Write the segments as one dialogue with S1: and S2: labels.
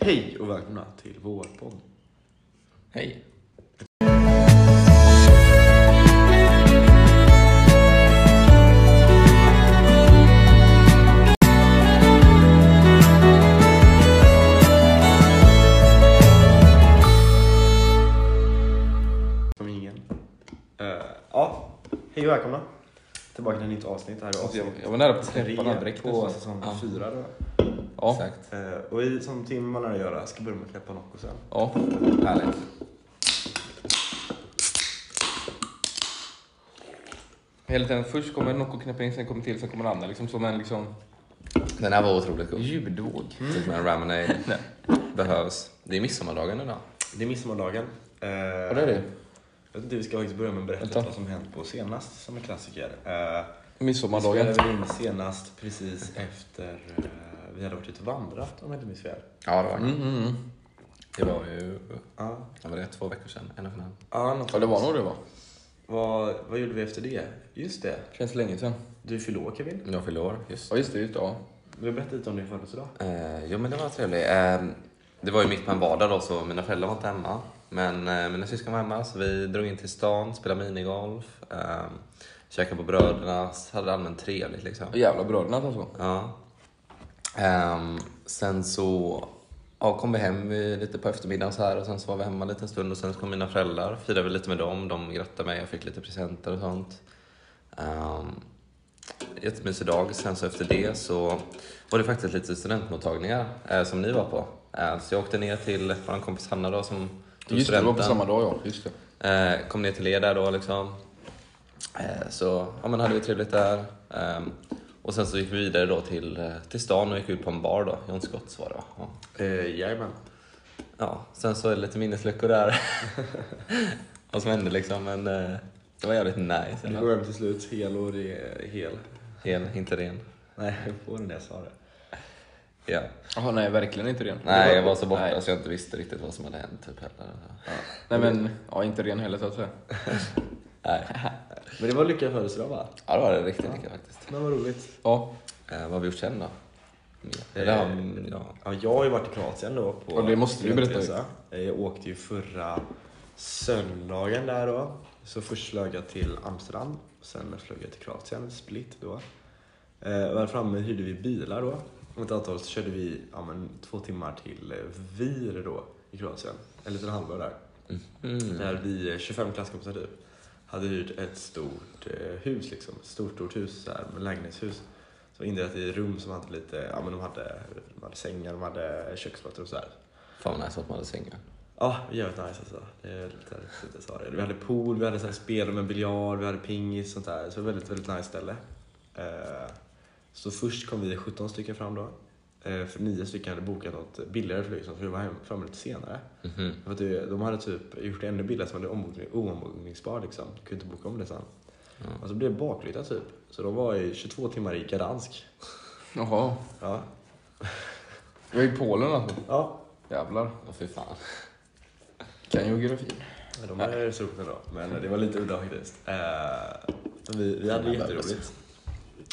S1: Hej och välkomna till vår podd.
S2: Hej.
S1: Som ingen. Eh, ja, hej och välkomna. Tillbaka till ett nytt avsnitt. Det här är
S2: Alltså,
S1: avsnitt
S2: jag, jag var nära på att
S1: tre
S2: släppa den här dräkten.
S1: på
S2: så.
S1: säsong
S2: ja.
S1: fyra. Då.
S2: Ja, exakt.
S1: Eh, och i, som Tim man lär göra, ska börja med att knäppa Nocco sen.
S2: Ja, härligt. Hela tiden, först kommer Nocco knäppa in, sen kommer till, sen kommer den andra. Liksom som en liksom,
S3: Den här var otroligt god.
S2: ljudvåg.
S3: Typ med en Ramenade. Behövs. Det är midsommardagen idag.
S1: Det är midsommardagen. Eh,
S2: Ja, det är det.
S1: Jag tänkte vi ska faktiskt börja med att berätta
S2: Vänta.
S1: vad som hänt på senast som en klassiker. Eh, Vi
S2: Midsommardagen.
S1: spelade in senast precis efter eh, vi hade varit ute och vandrat om jag inte minns fel.
S3: Ja, det var det.
S2: Mm, mm, mm.
S3: Det var ju
S1: Ja,
S3: det var det, två veckor sedan. En och en halv.
S1: ja något
S2: Ja, det var nog det va?
S1: Vad, vad gjorde vi efter det? Just det.
S2: Känns länge sedan.
S1: Du fyllde år Kevin.
S3: Jag fyllde år, just.
S2: Ja, just det. Just det ja.
S1: Vi har berättat lite om din födelsedag.
S3: Eh, jo, men det var trevligt. Eh, det var ju mitt på en vardag då, så mina föräldrar var inte hemma. Men eh, mina syskon var hemma, så vi drog in till stan, spelade minigolf, eh, käkade på Brödernas, hade det allmänt trevligt liksom.
S2: Och Jävla bröderna alltså.
S3: Ja. Ehm, sen så ja, kom vi hem eh, lite på eftermiddagen så här och sen så var vi hemma en liten stund och sen så kom mina föräldrar. Firade vi lite med dem. De grattade mig. Jag fick lite presenter och sånt. Um, jättemysig dag. Sen så efter det så var det faktiskt lite studentmottagningar eh, som ni var på. Eh, så jag åkte ner till vår kompis Hanna då som tog
S2: Just det, det var på
S3: studenten.
S2: samma dag ja. Just det.
S3: Eh, kom ner till er där då liksom. Eh, så ja, men hade vi trevligt där. Eh, och sen så gick vi vidare då till, eh, till stan och gick ut på en bar då. John Scotts var det va? Ja.
S1: Eh, jajamän.
S3: ja, sen så är det lite minnesluckor där. Vad som hände liksom men eh, det var jävligt nice.
S1: Du
S3: Eller?
S1: går hem till slut hel och re- hel.
S3: Hel, inte ren.
S1: Nej, jag får den där jag sa det.
S3: Ja.
S2: Jaha, nej verkligen inte ren.
S3: Nej, jag var så borta
S2: Nej.
S3: så jag inte visste riktigt vad som hade hänt typ heller.
S2: Nej men, ja inte ren heller så att säga.
S3: Nej.
S1: Men det var lyckad födelsedag va?
S3: Ja, det var det riktigt mycket faktiskt.
S1: Men vad roligt.
S2: Ja,
S3: Eh, vad har vi gjort sen då? Eller, ja,
S1: Eh,
S3: ja.
S1: Ja, jag har ju varit i Kroatien då på
S2: Ja, det måste du berätta ju.
S1: studentresa. Eh, Jag åkte ju förra söndagen där då. Så först flög jag till Amsterdam, sen flög jag till Kroatien, Split då. Eh, Väl framme hyrde vi bilar då. Om ett antal så körde vi ja, men, två timmar till eh, Vir då i Kroatien. En liten halvdag där.
S2: Mhm.
S3: Mm.
S1: Där vi eh, 25 klasskompisar typ hade hyrt ett stort eh, hus liksom. Stort, stort hus så här, med lägenhetshus. Så indelat i rum som hade lite, ja men de hade, de hade sängar, de hade köksmattor och sådär.
S3: Fan vad nice att man hade sängar.
S1: Ja, jävligt nice alltså. Det är lite, lite så här. Vi hade pool, vi hade så här spel med biljard, vi hade pingis och sånt där. Så det var väldigt, väldigt nice ställe. Eh, Så först kom vi 17 stycken fram då. Eh, För nio stycken hade bokat något billigare flyg, så vi var hem- framme lite senare.
S3: Mhm.
S1: För att det, de hade typ gjort det ännu billigare som var ombokning- oombokningsbar liksom. Du kunde inte boka om det sen. Och så blev det baklyta typ. Så de var i 22 timmar i Gdansk.
S2: jaha.
S1: Ja.
S2: Jag är i Polen alltså.
S1: Ja.
S2: Jävlar.
S3: Åh fy fan.
S2: Kan geografin.
S1: men De hade rest upp då. Men det var lite udda faktiskt. Eh, Men vi, vi hade
S3: Fina
S1: jätteroligt.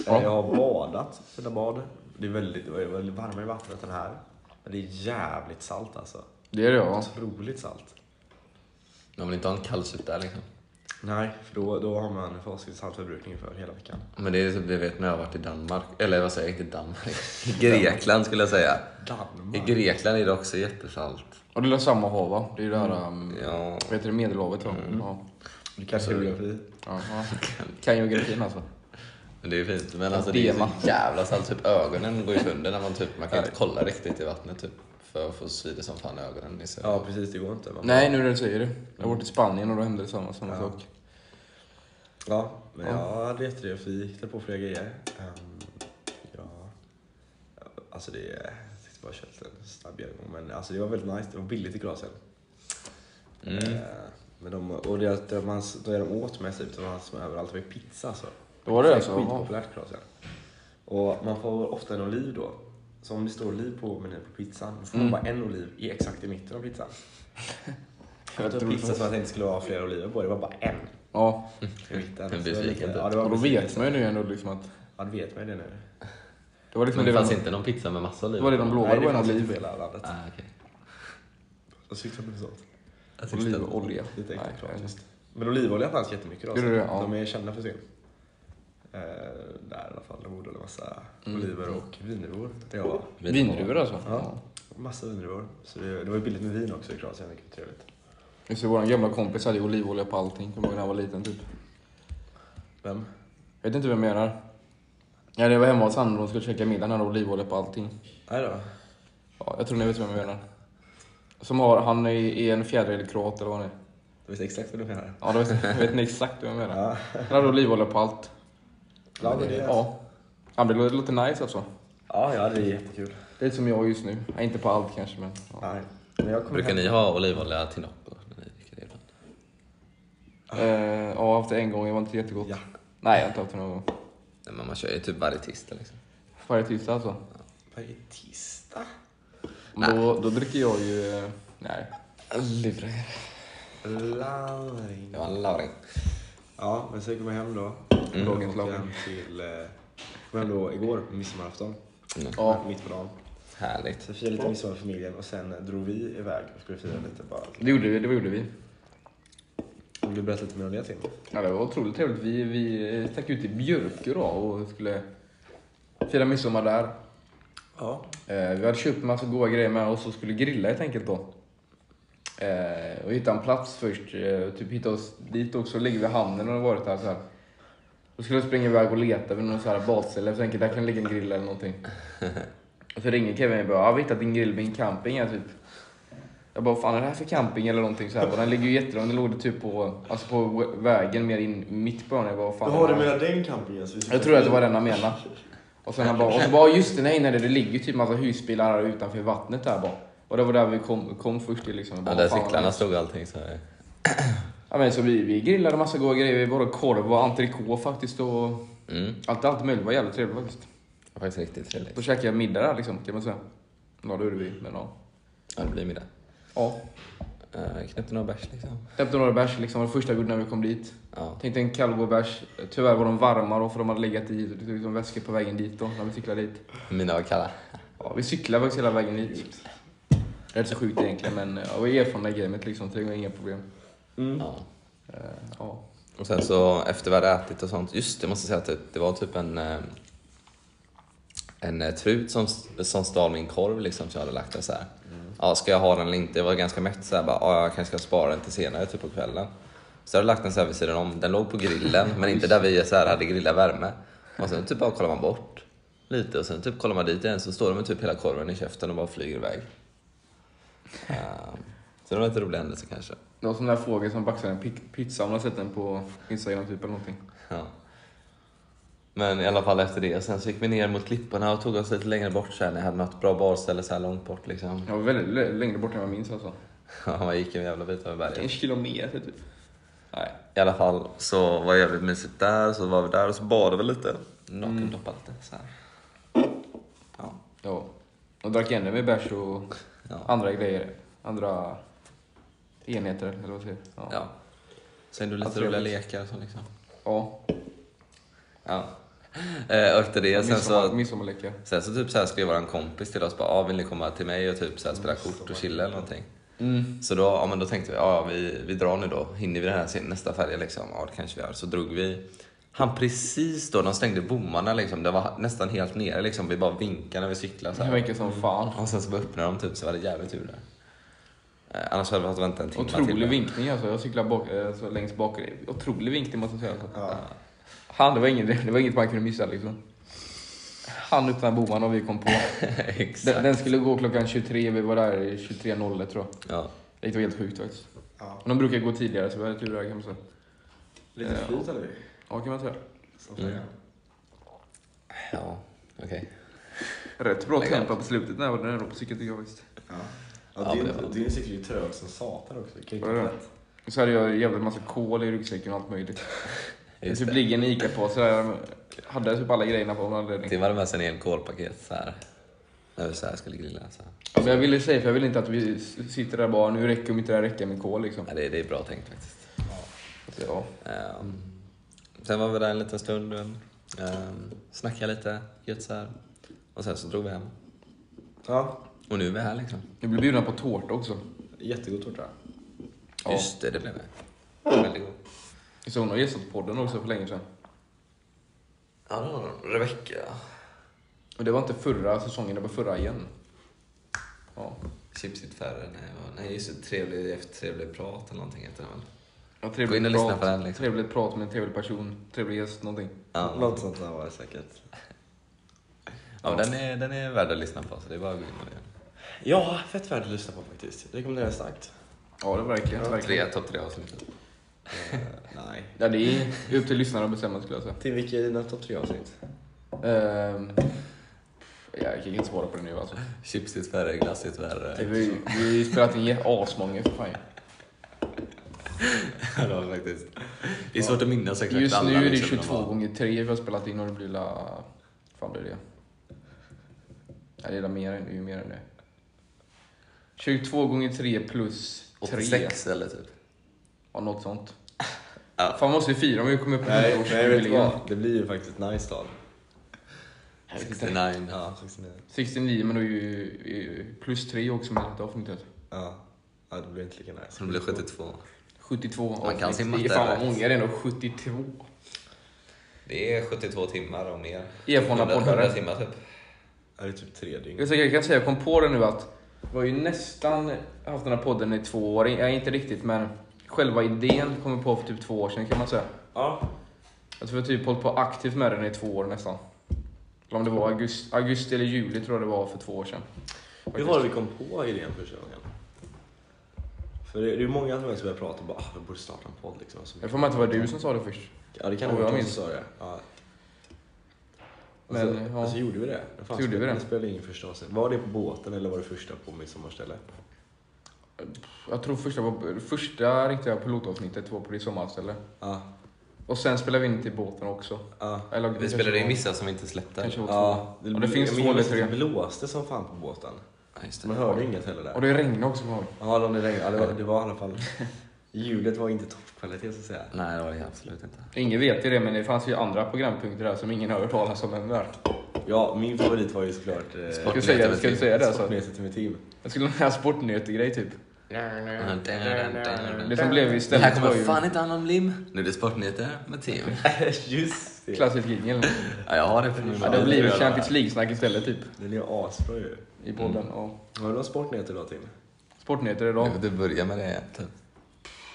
S2: Ja.
S1: Eh, Jag har badat. Fina bad. Det är väldigt, det var väldigt varmare i vattnet än här. Men det är jävligt salt alltså.
S2: Det är det ja.
S1: Otroligt salt.
S3: Man vill inte ha en kall sup där liksom.
S1: Nej, för då, då har man facit saltförbrukning för hela veckan.
S3: Men det är typ det jag vet när jag har varit i Danmark. Eller vad säger jag? Inte Danmark. I Grekland skulle jag säga. I
S1: Danmark.
S3: Grekland är det också jättesalt.
S2: Och det är väl samma hav va? Det är ju det här... Um,
S3: Ja.
S2: Vad heter det? Medelhavet va?
S3: Mm.
S2: Ja.
S1: Det kanske är bli.
S2: ja. ja. Kan geografin alltså.
S3: Men det är ju fint. Men alltså det är
S2: Dema.
S3: så jävla salt. Typ ögonen går ju sönder när man typ, man kan inte kolla riktigt i vattnet typ. För att få svider som fan i ögonen. Det är så-
S1: Ja, precis. Det går inte. Man
S2: Nej, nu när du säger det. Jag har varit i Spanien och då hände det samma, samma
S1: Ja.
S2: sak.
S1: Ja, men jag hade jättetrevligt. Vi hittade på flera grejer. Ehm, ja. Alltså det... Jag tänkte bara köra en snabb genomgång. Men alltså det var väldigt nice. Det var billigt i glasen. Eh,
S3: Mm.
S1: men de, och det, det, man, det de åt mest typ, det var som överallt var ju pizza alltså.
S2: Det var
S1: Pizza är
S2: det alltså? Jaha.
S1: Skitpopulärt i Kroatien. Och man får ofta en oliv då. Så om det står oliv på menyn på pizzan, då får man
S2: Mm.
S1: bara en oliv i exakt i mitten av pizzan. Jag tog pizza som jag tänkte skulle ha flera oliver på, det var bara en
S2: Ja,
S1: i mitten.
S3: En
S1: Så det var
S3: besviken
S1: lite-
S3: typ.
S1: Ja, det var
S2: och då vet
S1: besvikelse.
S2: man ju nu ändå liksom att...
S1: Ja, du vet man ju det nu.
S2: Det var liksom
S3: Men det
S2: det,
S3: fanns
S2: de,
S3: inte någon pizza med massa oliver
S2: det var det de
S3: på?
S2: lovade var en
S1: fanns inte
S2: oliv.
S1: på hela landet.
S3: Ah, okej.
S1: Vad syftar du med sånt?
S3: Jag tyckte att-
S2: Olivolja.
S1: Lite äkta
S2: Nej,
S1: kroatiskt. Men olivolja fanns jättemycket då. så
S2: Gjorde det? Ja.
S1: De är kända för sin. Eh, där i alla fall. De odlade massa
S2: Mm.
S1: oliver och vindruvor. där jag var.
S2: Vindruvor alltså?
S1: Ja. Massa vindruvor. Så det, det var ju billigt med vin också i Kroatien, vilket var trevligt.
S2: Just det, vår gamla kompis hade ju olivolja på allting. Kommer ihåg när han var liten typ.
S1: Vem?
S2: Vet inte vem jag menar. Ja, det var hemma hos han och de skulle käka middag. Han hade olivolja på allting.
S1: Nej då.
S2: Ja, jag tror ni vet vem jag menar. Som har, han är, är en fjärilkroat eller vad han är.
S1: Du visste exakt vad du menar.
S2: Ja, då vet, vet ni exakt vem jag menar.
S1: Ja.
S2: Han hade olivolja på allt.
S1: Ja, men det är... ja.
S2: Ja. ja men det låter- låter nice alltså.
S1: ja, ja, det är jättekul.
S2: Det är som jag just nu. Ja, inte på allt kanske men. Ja.
S1: Nej. Men jag kommer
S3: Brukar ni ha olivolja till nocco? när ni dricker det ibland?
S2: Eh, ja, jag har haft det en gång. Det var inte jättegott.
S1: Ja.
S2: Nej, jag har inte haft det någon gång.
S3: Nej, men man kör ju typ varietister liksom.
S2: Varje tisdag alltså.
S1: Parietista?
S2: Men Då, då dricker jag ju... eh, Nej.
S3: Livre.
S1: Laurin.
S3: Det var en lauring.
S1: Ja, men sen kom jag hem då. Dagen
S2: Mm. Dagens
S1: åkte jag
S2: Laurin.
S1: hem till... Eh, kom hem då igår, midsommarafton.
S3: Mm.
S2: Ja.
S1: Mitt på dagen.
S3: Härligt.
S1: Så firade lite midsommar med familjen och sen eh, drog vi iväg och skulle fira lite bara.
S2: Det gjorde vi. Det gjorde vi.
S1: Vill du berätta lite mer om det Tim?
S2: Ja, det var otroligt trevligt. Vi, vi eh, stack ut till Björkö då och skulle fira midsommar där.
S1: Ja.
S2: Eh, vi hade köpt massa goda grejer med oss och skulle grilla helt enkelt då. Eh, och hitta en plats först. Eh, typ hitta oss dit också. Ligger vid hamnen och det varit där så här. Då skulle jag springa iväg och leta vid någon så här badställe. Så tänkte där kan ligga en grill eller någonting. Och så ringer Kevin och bara, "Ja, vi har hittat din grill vid en camping här typ. Jag bara, vad fan är det här för camping eller någonting så här. Och den ligger ju jättelångt. Den låg typ på, alltså på vägen mer in mitt på ön. Jag bara, "Vad fan är
S1: Jaha,
S2: det
S1: du
S2: här?"
S1: menar den campingen? Så vi
S2: Jag tror att det var den han menade. Och sen han bara, och så bara just det, nej, nej, det ligger ju typ massa husbilar här utanför vattnet där bara. Och det var där vi kom, kom först till liksom. Jag
S3: Ja,
S2: bara,
S3: där
S2: fan,
S3: cyklarna
S2: vad-
S3: stod och allting så här.
S2: Ja, men så vi, vi grillade massa goda grejer, vi både korv och entrecote faktiskt och
S3: Mm.
S2: allt, allt möjligt. Det var jävligt trevligt faktiskt.
S3: Det var faktiskt riktigt trevligt.
S2: Då käkade jag middag där liksom, kan man säga. Ja, det gjorde vi, men ja.
S3: Ja, det blir middag.
S2: Ja,
S3: Uh, knäppte några bärs liksom.
S2: knäppte några bärs liksom, var det första vi gjorde när vi kom dit.
S3: Ja.
S2: Tänkte en kallblodbärs, tyvärr var de varma då för de hade legat i liksom, väskor på vägen dit då, när vi cyklade dit.
S3: Mina var kalla.
S2: Ja, vi cyklade faktiskt hela vägen hit. Det är inte så sjukt egentligen, men ja, vi är erfarna i gamet liksom, så det var inga problem.
S1: Mm.
S3: Ja.
S2: Eh, ja.
S3: Och sen så efter vi hade ätit och sånt. Just det, jag måste säga att det, det var typ en eh, en eh, trut som, som stal min korv liksom som jag hade lagt där så här. Ja, ska jag ha den eller inte? Jag var ganska mätt så här, bara, ja, jag kanske ska spara den till senare typ på kvällen. Så jag hade lagt den så här vid sidan om. Den låg på grillen men inte där vi så här hade grillat värme. Och sen typ bara kollar man bort lite och sen typ kollar man dit igen så står de med typ hela korven i käften och bara flyger iväg. Ehm, så det var en lite rolig händelse kanske.
S2: Det var som den där fågeln som baxade en pi- pizza, om man har sett den på Instagram typ eller någonting.
S3: Ja. Men i alla fall efter det. Sen så gick vi ner mot klipporna och tog oss lite längre bort sen. Jag hade något bra barställe så här långt bort liksom.
S2: Jag var väldigt l- längre bort än vad jag minns alltså.
S3: Ja, man gick en jävla bit över
S2: En
S3: berget.
S2: kilometer typ. Nej.
S3: I alla fall så var det jävligt mysigt där. Så var vi där och så badade vi lite. Nakendoppade lite så här. Ja.
S2: Ja. Och drack ännu mer bärs och
S3: Ja.
S2: andra grejer. Andra enheter, eller vad säger jag? Ja.
S3: ja. Sen du lite
S2: Alltså,
S3: roliga
S2: trevligt.
S3: lekar så liksom.
S2: ja.
S3: Ja. Eh, och efter det sen
S2: Midsommar,
S3: så
S2: midsommarleka.
S3: Sen så typ så här skrev våran kompis till oss bara, ah, vill ni komma till mig och typ så här spela kort och chilla eller någonting? Så då, ja, men då tänkte vi, ja vi, vi drar nu då, hinner vi den här sen- nästa färja liksom? Ja det kanske vi gör. Så drog vi, han precis då, de stängde bommarna liksom, det var nästan helt nere liksom, vi bara vinkade när vi cyklade så
S2: Det
S3: här.
S2: verkar som fan.
S3: Och sen så bara öppnade de typ, så var det jävligt tur där. Eh, annars hade vi fått vänta en timme
S2: Otrolig
S3: till.
S2: vinkning alltså. Jag cyklar bak, eh, så längst bak. Otrolig vinkning måste jag säga. Alltså.
S1: Ja.
S2: Han, det var, inget, det var inget man kunde missa liksom. Han utan boman och vi kom på.
S3: Exakt.
S2: Den, den skulle gå klockan 23, vi var där i 23.00 tror jag.
S3: Ja.
S2: Det var helt sjukt faktiskt.
S1: Ja.
S2: Men de brukar gå tidigare så vi hade tur där kan man säga.
S1: Lite
S2: Ja.
S1: flyt hade vi.
S2: Ja, kan man säga.
S1: som flög.
S3: Mm. Ja, okej.
S2: Rätt bra
S3: Lägg av.
S2: tempo på slutet när jag var där nere på cykeln tycker jag faktiskt.
S1: Ja.
S3: Ja,
S1: Ja, din,
S3: men det var-
S1: din cykel är ju trög som satan också. Det kan ju
S2: Var det
S1: inte
S2: det? Och så hade jag en jävla massa kol i ryggsäcken och allt möjligt. Jag
S3: Just
S2: typ
S3: det.
S2: ligger en ICA-påse där. Jag hade typ alla grejerna på av någon anledning.
S3: Tim hade med sig en hel kolpaket så här. När vi så här skulle grilla. Så här.
S2: Ja, men jag ville säga, för jag vill inte att vi s- sitter där bara, nu räcker om inte det här räcker med kol liksom.
S3: Ja, det, det är bra tänkt faktiskt.
S2: Så, ja.
S3: Ehm, Sen var vi där en liten stund, um, snackade lite, gött så här. Och sen så drog vi hem.
S1: Ja.
S3: Och nu är vi här liksom.
S2: Vi blev bjudna på tårta också.
S1: Jättegod tårta.
S2: Ja.
S3: Just det, det blev det. Väldigt god.
S2: Så hon har gästat podden också för länge sedan.
S3: Ja, det var hon. Rebecca.
S2: Och det var inte förra säsongen, det var förra igen. Ja,
S3: Chipsit färre. Nej, vad- nej, just det. Trevlig, efter trevlig prat eller någonting heter det väl?
S2: ja
S3: Gå in och
S2: trevligt,
S3: lyssna på
S2: prat,
S3: den, liksom.
S2: trevligt prat med en trevlig person, trevlig gäst, någonting.
S3: Ja,
S1: Något sånt där var det säkert.
S3: ja den, är, den är värd att lyssna på så det är bara att gå in och göra.
S1: Ja, fett värd att lyssna på faktiskt. Rekommenderar starkt.
S2: Ja, det är verkligen. verkligen.
S3: Tre, topp tre avsnitt.
S1: Eh, nej.
S2: Ja, det är upp till lyssnaren att bestämma skulle jag säga.
S1: Till vilka är dina topp tre avsnitt?
S2: Ehm, jag kan inte svara på det nu alltså.
S3: Chipsit färre, glassigt
S2: Vi
S3: värre.
S2: har ju- vi har ju spelat in jä- asmånga för fan ju.
S3: Ja, det var faktiskt. Det är svårt att minnas exakt
S2: Just
S3: alla.
S2: nu är det
S3: liksom,
S2: 22
S3: de var-
S2: gånger 3 vi har spelat in och det blir la... fan blir det? Ja, det är la mer än det, är ju mer än det. 22 gånger 3 plus 3.
S3: 86 eller typ.
S2: Ja, något sånt.
S3: Ja.
S2: Fan, måste vi fira om vi kommer på
S1: Nej, nej vet du
S2: 100-årsjubileum?
S1: vad? Det blir ju faktiskt nice då.
S2: Jag vet inte.
S3: 69, ja.
S1: 69.
S2: 69, men då är ju ju plus 3 också med detta avsnittet.
S1: Ja. ja, det blir inte lika nice.
S3: Så det blev 72.
S2: 72
S3: Man kan sin
S2: Det är
S3: matte,
S2: fan vad
S3: rätt.
S2: många det är ändå, 72.
S3: Det är 72 timmar och mer.
S2: Erfarna
S3: 100
S2: poddare.
S3: 100 timmar typ.
S1: Ja, det är typ tre dygn.
S2: Jag, ska, jag kan säga, jag kom på det nu att vi har ju nästan haft den här podden i två år. Ja, inte riktigt, men själva idén kom vi på för typ två år sedan kan man säga.
S1: Ja.
S2: Jag tror vi har typ hållit på aktivt med den i två år nästan. Eller om det var augusti, augusti eller juli tror jag det var för två år sedan.
S1: Hur var det vi kom på idén första gången? För det är ju många som faktiskt börjar prata och bara ah, vi borde starta en podd liksom. Så
S2: Jag får mig att det var du som sa det först.
S1: Ja, det kan
S2: Ja,
S1: ha varit
S2: jag
S1: jag
S2: minns.
S1: som sa det. Ja. Och
S2: Men,
S1: så,
S2: ja.
S1: och så gjorde vi det. Vad fan,
S2: Så gjorde vi det.
S1: Det spelade ingen första avsnitt. Var det på båten eller var det första på midsommarställe?
S2: Jag tror första, var, första riktiga pilotavsnittet var på ditt sommarställe.
S1: Ja.
S2: Och sen spelade vi in till båten också.
S1: Ja.
S2: Eller,
S3: Vi
S2: kanske
S3: spelade in
S2: var-
S3: vissa som vi inte släppte.
S2: Kanske var två.
S1: Ja,
S2: Ja, det finns
S1: jag
S2: två
S1: minns
S2: eller
S1: att
S2: tre.
S1: Det blåste som fan på båten.
S3: Ja, just
S1: Man
S3: det.
S1: hörde inget heller där.
S2: Och det regnade också kommer jag ihåg.
S1: Ja, de det regnade. Ja, det, var, det var i alla fall... Ljudet var inte toppkvalitet så att säga.
S3: Nej, det var det absolut inte.
S2: Ingen vet ju det, men det fanns ju andra programpunkter där som ingen har hört talas om än där.
S1: Ja, min favorit var ju såklart... Eh,
S2: Ska du
S3: Sportnyheter
S2: säga,
S3: med
S2: ska du
S3: Tim.
S2: säga det alltså?
S1: Sportnyheter till mitt team.
S2: Jag skulle ha en sportnyheter-grej typ. Det
S3: Det
S2: som blev
S3: Det här
S2: istället var
S3: kommer
S2: ju
S3: fan inte handla om lim. Nu är det sportnyheter med Tim.
S1: Just det.
S2: klassisk jingel.
S3: Ja, jag har det på min
S2: Ja, det
S3: mobil.
S2: blir Champions League-snack istället typ.
S1: Den är ju asbra ju.
S2: I podden. Ja.
S1: Har du någon sportnyheter då Tim?
S2: Sportnyheter
S3: Nu
S2: idag.
S3: får du börja med Mm. det. Typ.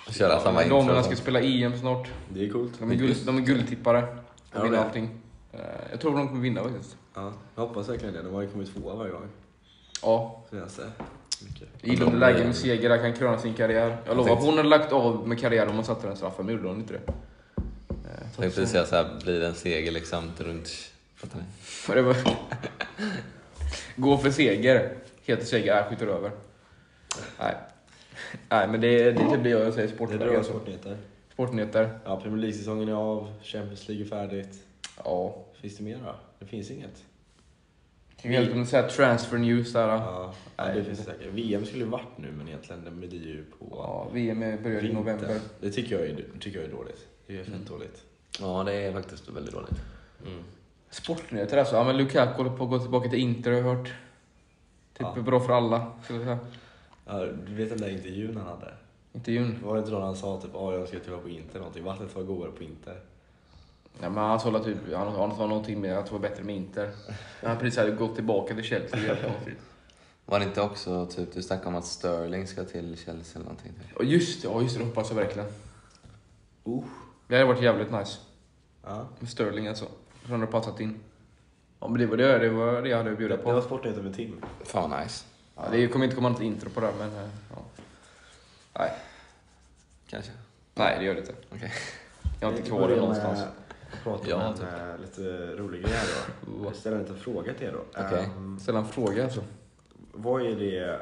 S3: Och köra samma intro.
S2: Damerna ska
S3: som-
S2: spela EM snart.
S1: Det är coolt.
S2: De är, guld, de är guldtippare.
S1: Ja,
S2: De vinner
S1: det.
S2: allting. Eh, Jag tror de kommer vinna faktiskt.
S1: Ja, jag hoppas verkligen det. De har ju kommit tvåa varje gång.
S2: Ja,
S1: Senaste. Mycket.
S2: gillande läge med seger där kan kröna sin karriär. Jag lovar, hon hade lagt av med karriär om hon satte den straffen, men gjorde hon inte det. Eh,
S3: Jag tänkte säga såhär, blir det en seger liksom runt... Fattar ni?
S2: För det var... Gå för seger. Heter seger, är skjuter över. Nej. Nej, men det, det är typ det jag säger.
S1: Det
S2: Sportnyheter.
S1: drar
S2: Alltså.
S1: sportnyheter.
S2: Sportnyheter.
S1: Ja, Premier League-säsongen är av. Champions League är färdigt.
S2: Ja.
S1: Finns det mer då? Det finns inget.
S2: Det är Helt om säga transfer news där. då.
S1: Ja, ja det finns det säkert. VM skulle ju varit nu, men egentligen det- men det är ju på
S2: Ja, VM börjar i
S1: vintern.
S2: november.
S1: Det tycker jag är, tycker jag är dåligt. Det är fett dåligt.
S3: Ja, det är faktiskt väldigt dåligt.
S2: Sportnyheter alltså. Ja, men Lukaku håller på att gå tillbaka till Inter har jag hört. Typ
S1: Ja.
S2: bra för alla, skulle jag säga.
S1: Ja, du vet den där intervjun han hade?
S2: Intervjun.
S1: Var det inte då han sa typ att jag ska tillbaka på Inter någonting? Vattnet var godare på Inter.
S2: Ja, men han sa typ, han, han sa någonting med att det var bättre med Inter. Men han precis hade gått tillbaka till Chelsea. det är helt konstigt.
S3: Var det inte också typ, du snackade om att Sterling ska till Chelsea eller någonting? typ?
S2: Ja, just det. Ja, just det. Det hoppas jag verkligen.
S1: Uh.
S2: Det hade varit jävligt nice.
S1: Ja.
S2: Med Sterling alltså. Han hade passat in. Ja men det var det, det, var det jag hade att
S1: Det
S2: bjuda
S1: var typ
S2: på.
S1: sportnyheter med Tim.
S3: Fan vad nice.
S2: Ja, det kommer inte komma något intro på det här, men... eh, Ja. Nej.
S3: Kanske.
S2: Nej, det gör det inte.
S3: Okej.
S2: Jag har inte kvar det någonstans.
S1: Prata
S3: Ja,
S1: om
S3: typ.
S1: en eh, lite rolig grej här då. Jag ställer en liten fråga till er då.
S3: Okej.
S1: Ehm,
S2: Ställa en fråga alltså.
S1: vad är det...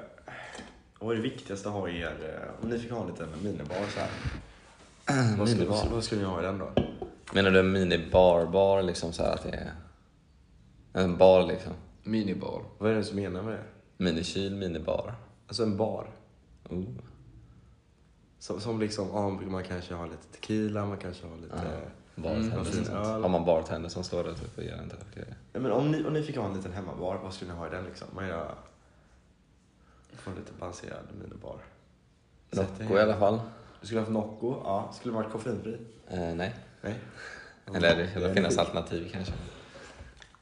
S1: Vad är det viktigaste att ha i er... eh, Om ni fick ha en liten minibar så här. Vad skulle,
S3: Minibar.
S1: vad, vad skulle ni ha i den då?
S3: Menar du en minibar-bar liksom så här att det är... En bar liksom.
S2: Minibar.
S1: Vad är det som menar med det?
S3: Minikyl, minibar.
S1: Alltså en bar.
S3: Oh.
S1: Som, som liksom, ja, man kanske har lite tequila, man kanske har lite...
S3: Bartender
S1: Mm.
S3: och sånt.
S1: Öl.
S3: Har man bartender som står där typ och gör en typ grejer.
S1: Nej, men om ni, om ni fick ha en liten hemmabar, vad skulle ni ha i den liksom? Vad är det? Få en lite balanserad minibar.
S3: Nocco i alla fall.
S1: Du skulle haft Nocco, ja. Skulle det varit koffeinfri?
S3: Eh, nej.
S1: Nej.
S3: Eller det skulle finnas alternativ kanske.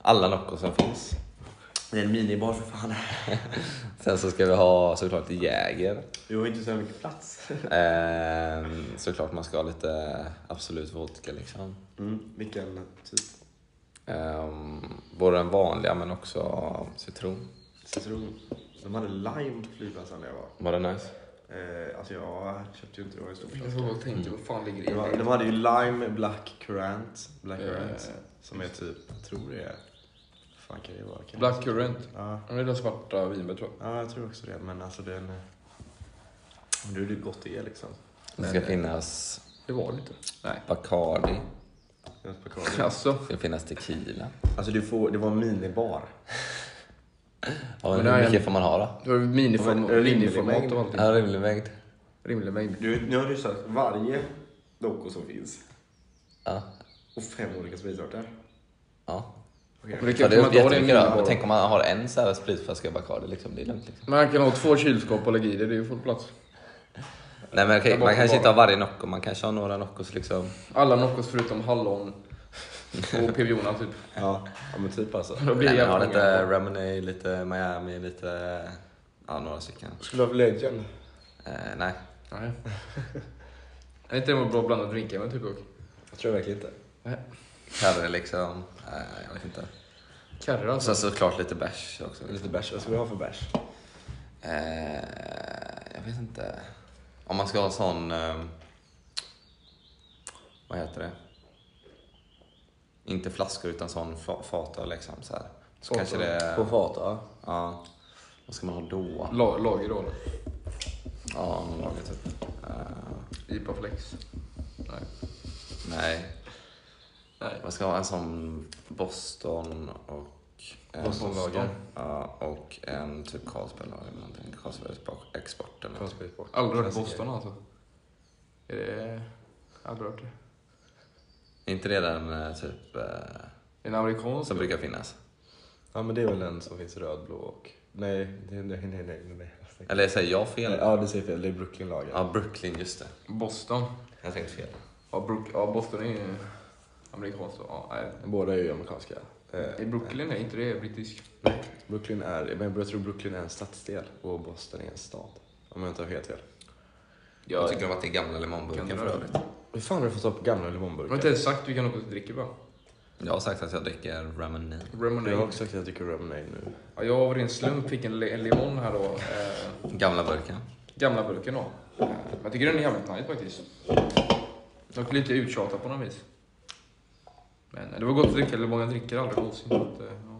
S3: Alla Nocco som finns.
S1: Det är en minibar för fan.
S3: Sen så ska vi ha såklart Jäger.
S1: Vi har inte så mycket plats.
S3: Ehm, såklart man ska ha lite Absolut Vodka liksom.
S1: Mm, vilken typ?
S3: Ehm, både den vanliga men också citron.
S1: Citron. De hade lime på flygplatsen när jag var.
S3: Var det nice?
S1: Eh, alltså jag köpte ju inte det, var en stor
S2: Jag
S1: flaska.
S2: får bara tänka, vad fan ligger
S1: Det
S2: i
S1: var-
S2: det?
S1: De hade ju lime black currant. Black currant.
S2: Eh,
S1: Som är typ, jag tror det är... vad fan kan det vara? Kan
S2: Black currant.
S1: Ja,
S2: Det är de svarta vinbär tror jag.
S1: ja, jag tror också det. Men alltså den... eh, Men det är ju gott det är liksom.
S3: Det ska
S2: Men-
S3: finnas
S2: Det var det inte. Nej.
S3: Bacardi.
S1: Den spakar.
S2: Alltså.
S3: Det ska finnas tequila.
S1: Alltså du får, det var en minibar.
S3: Ja,
S2: Men det
S3: hur
S2: är-
S3: mycket får man ha då?
S2: Det var
S1: Det
S2: miniform-
S1: var en rimlig
S2: miniformat
S1: mängd.
S2: och allting.
S3: Ja, rimlig mängd.
S2: Rimlig mängd.
S1: Du, nu har du sagt varje Loco som finns.
S3: Ja.
S1: Och fem olika spritarter.
S3: ja.
S1: Okej.
S2: Men det
S3: Ja,
S2: kan
S3: det är
S2: man ta det i
S3: jättemycket då.
S2: miniform.
S3: Tänk om man har en så här spritflaska Bacardi liksom. Det är lugnt liksom.
S2: Man kan ha två kylskåp och lägga i det, det är ju full plats.
S3: Nej men okej,
S2: Där
S3: man
S2: bakom
S3: kanske
S2: bara.
S3: inte har varje Nocco. Man kanske har några Noccos liksom.
S2: Alla Noccos förutom hallon och Piviona typ.
S1: Ja, ja men typ alltså.
S2: Då blir det
S3: Nej, men har
S2: jävla
S3: lite
S2: många.
S3: Lemonade, lite Miami, lite... Ja, några stycken.
S1: Skulle du ha Legend?
S3: Eh, nej.
S2: Nej. Är inte det en bra blandad drinkar med typ och?
S1: Jag tror verkligen inte.
S2: Nej.
S3: Karre liksom. Eh, jag vet inte.
S2: Karre
S3: Och
S2: alltså.
S3: sen såklart lite bärs också.
S1: Lite
S3: Liksom.
S1: bärs. Vad ska vi ha för bärs?
S3: Eh, jag vet inte. Om man ska ha sån... Eh, vad heter det? Inte flaskor utan sån fa- fata liksom. Så, här. så
S2: Fata.
S3: kanske det...
S1: På fat, ja.
S3: Ja. Vad ska man ha då?
S2: La, lager då eller?
S3: Ja, någon lager typ. Eh,
S2: IPA Flex. Nej.
S3: nej.
S2: Nej.
S3: Man ska ha en sån Boston och... en-
S1: Bostonlager.
S3: Ja, och en typ Carlsberg-lager eller någonting. Carlsberg export eller något.
S1: Konspirit bort.
S2: Aldrig hört Boston alltså. Är det... Aldrig hört det.
S3: Är inte det den eh, typ... Eh,
S2: Är det en amerikansk?
S3: som brukar finnas?
S1: Ja men det är väl en som finns röd, blå och... Nej, det, nej, nej, nej. nej, nej.
S3: Eller säger jag fel?
S1: Ja, du säger fel. Det är Brooklyn-lagen.
S3: Ja, Brooklyn, just det.
S2: Boston.
S3: Jag tänkte fel.
S2: Ja, Brook... ja Boston är ju amerikanskt då. Ja, nej.
S1: Båda är ju amerikanska.
S2: Är
S1: Eh,
S2: Brooklyn är inte det brittisk?
S1: Brooklyn är, men jag tror Brooklyn är en stadsdel och Boston är en stad. Om jag inte har helt fel.
S3: Jag tycker om att det är gamla limonburken
S2: Kan
S3: för
S2: du
S3: övrigt.
S1: Hur fan har du fått upp gamla
S2: Jag har
S1: limonburkar?
S2: inte ens sagt vilka Noccos vi dricker va?
S3: Jag har sagt att jag dricker lemonade.
S1: Jag har
S2: Lemonade.
S1: också sagt att jag tycker lemonade nu.
S2: Ja, jag av ren slump fick en, le- en limon här då. Eh,
S3: Gamla burken.
S2: gamla burken då. Eh, men jag tycker den är jävligt nice faktiskt. Dock lite uttjatad på något vis. Men eh, det var gott att dricka, eller många dricker aldrig någonsin. så att, eh, ja.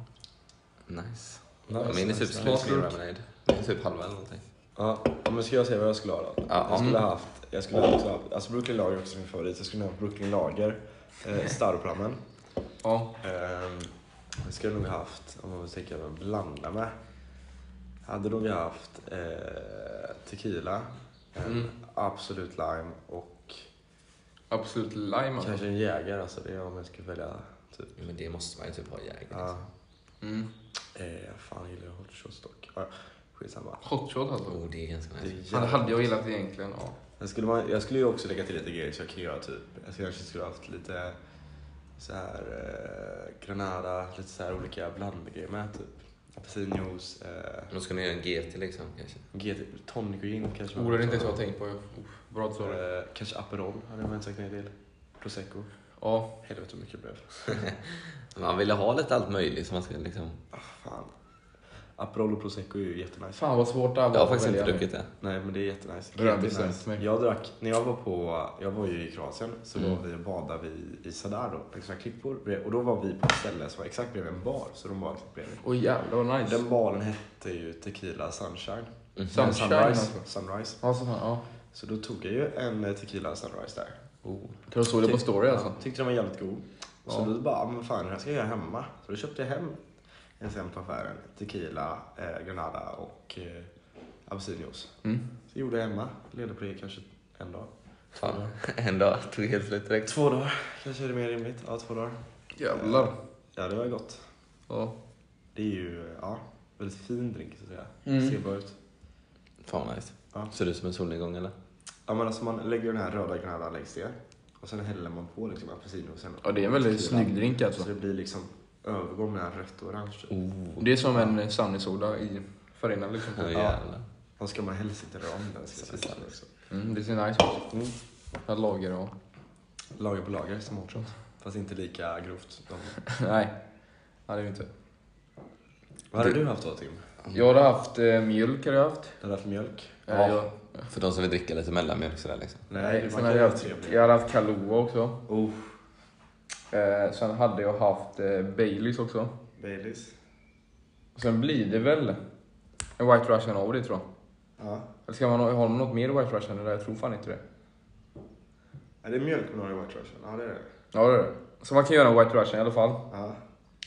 S3: Nice.
S1: Nice,
S3: Min är
S1: nice,
S3: typ slut
S2: nice.
S3: med lemonade. Min är typ halva eller någonting.
S1: Ja, men ska jag säga vad jag skulle ha då?
S3: Ja,
S1: Jag
S3: ja.
S1: skulle ha haft, jag skulle ha också haft, alltså Brooklyn Lager är också min favorit. Jag skulle ha haft Brooklyn Lager, eh, Staropramen.
S2: Ja,
S1: Ehm, jag skulle nog haft, om man tänker vad jag blanda med. Hade nog haft eh, tequila, en
S2: Mm.
S1: Absolut Lime och
S2: absolut lime alltså.
S1: kanske en Jäger. Alltså det är om jag ska välja typ.
S3: Men det måste man ju typ ha i Jäger.
S1: Ja.
S2: Mm.
S1: Eh, fan gillar jag hot shots dock. Ja, skitsamma.
S2: Hot shot alltså.
S3: Oh, det är ganska
S1: Det är
S3: nice.
S2: Han
S1: jävla-
S2: hade jag gillat egentligen. Ja.
S1: Jag skulle, man, jag skulle ju också lägga till lite grejer så jag kan göra typ, jag skulle- kanske skulle haft lite så här eh, Granada, lite så här olika blandgrejer med typ. Apelsinjuice, eh,
S3: Men Då ska ni göra en GT liksom kanske.
S1: GT, tonic och gin kanske.
S2: Oh, det är inte ens jag har tänkt på. Uff, bra att du sa det.
S1: Eh, kanske Aperol hade man inte sagt nej till. Prosecco.
S2: Ja,
S1: Helvete hur mycket det blev.
S3: Man ville ha lite allt möjligt som man skulle liksom...
S1: Ah, fan. Aperol och prosecco är ju jättenice.
S2: fan vad svårt det här var
S3: Jag har
S2: att
S3: faktiskt inte
S2: välja.
S3: druckit det.
S1: Nej men det är jättenice.
S2: Det har jag
S1: Jättenice.
S2: bestämt mig.
S1: Jag drack, när jag var på, jag var ju i Kroatien så
S3: Mm.
S1: var vi och badade vi i Sadar då, på sådana klippor. bred- Och då var vi på ett ställe som var exakt bredvid en bar, så de var exakt bredvid.
S2: Oj jävlar vad nice. Mm-hmm.
S1: Den baren hette ju Tequila Sunshine.
S3: Mhm.
S1: Nej,
S2: Sunshine,
S1: sunrise.
S2: alltså.
S1: sunrise.
S2: Ja, så fan, ja.
S1: Så då tog jag ju en eh, Tequila Sunrise där.
S3: Oh.
S2: Kan du såg det på story alltså?
S1: Tyckte den var jävligt god. Så
S2: Ja.
S1: då bara, "Ah, men fan det här ska jag göra hemma. Så då köpte jag hem en sen på affären. Tequila, eh, Granada och eh, apelsinjuice.
S2: Mm.
S1: Så gjorde jag hemma. Levde på det kanske en dag.
S3: Fan. En dag tog helt slut direkt.
S1: Två dagar kanske är det mer rimligt. Ja, två dagar.
S2: Jävlar.
S1: Ja, det var gott.
S2: Ja.
S1: Det är ju, eh, ja, väldigt fin drink så att säga.
S2: Mm.
S1: Ser bra ut.
S3: Fan vad nice.
S1: Ja.
S3: Ser du ut som en solnedgång eller?
S1: Ja men alltså man lägger den här röda gröna längst ner och sen häller man på liksom apelsin och sen...
S2: Ja, det är en väldigt
S1: tequila.
S2: snygg drink alltså.
S1: Så det blir liksom övergång mellan rött och orange. typ.
S3: Oh,
S2: Det är som en sunnysoda i farinad liksom.
S3: ja,
S1: Ja.
S3: jävlar.
S1: Och ska man helst inte röra om den. Ska jag säga också.
S2: Mm, det ser nice ut.
S1: Mm.
S2: Att lager och...
S1: Lager på lager som hårt sånt. Fast inte lika grovt. De-
S2: Nej. Ja, det är inte.
S1: Vad hade du haft då Tim?
S2: Jag hade haft eh, mjölk. Hade jag haft.
S1: Den där för mjölk?
S2: Eh,
S3: Ja.
S2: jag,
S3: För de som vill dricka lite mellanmjölk sådär liksom.
S1: Nej,
S2: sen
S1: man kan
S2: hade
S1: ju
S2: jag,
S1: ha
S2: haft,
S1: trevlig.
S2: jag hade haft Kahlua också.
S1: Oh,
S2: Eh, sen hade jag haft eh, Baileys också.
S1: Baileys.
S2: Sen blir det väl en White Russian av det tror jag.
S1: Ja.
S2: Eller ska man ha har man något mer White Russian? Eller? Jag tror fan inte det.
S1: Är det mjölk med några White Russian? Ja det är det.
S2: Ja, det är det. Så man kan göra en White Russian i alla fall.
S1: Ja.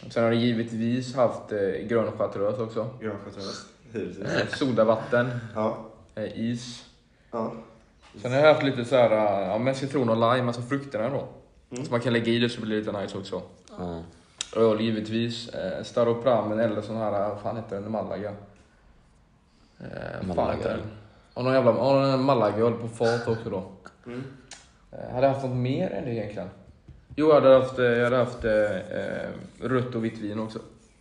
S2: Sen har jag givetvis haft eh, grön chartreuse också.
S1: Grön chartreuse.
S2: Eh,
S1: Givetvis.
S2: Sodavatten,
S1: Ja.
S2: eh, is.
S1: Ja.
S2: Sen har jag haft lite så här, eh, ja, men citron och lime, alltså frukterna då.
S1: Mm.
S2: Så man kan lägga i det så blir det lite nice också.
S3: Ja.
S2: Öl givetvis, eh, Staropramen eller sån här, eh, vad fan heter den, Malaga? Eh,
S3: Malaga.
S2: Malaga. Och någon jävla och någon Malaga på fat också då.
S1: Mm.
S2: Eh, hade jag haft något mer än det egentligen? Jo, jag hade haft, eh, jag hade haft eh, eh, rött och vitt vin också.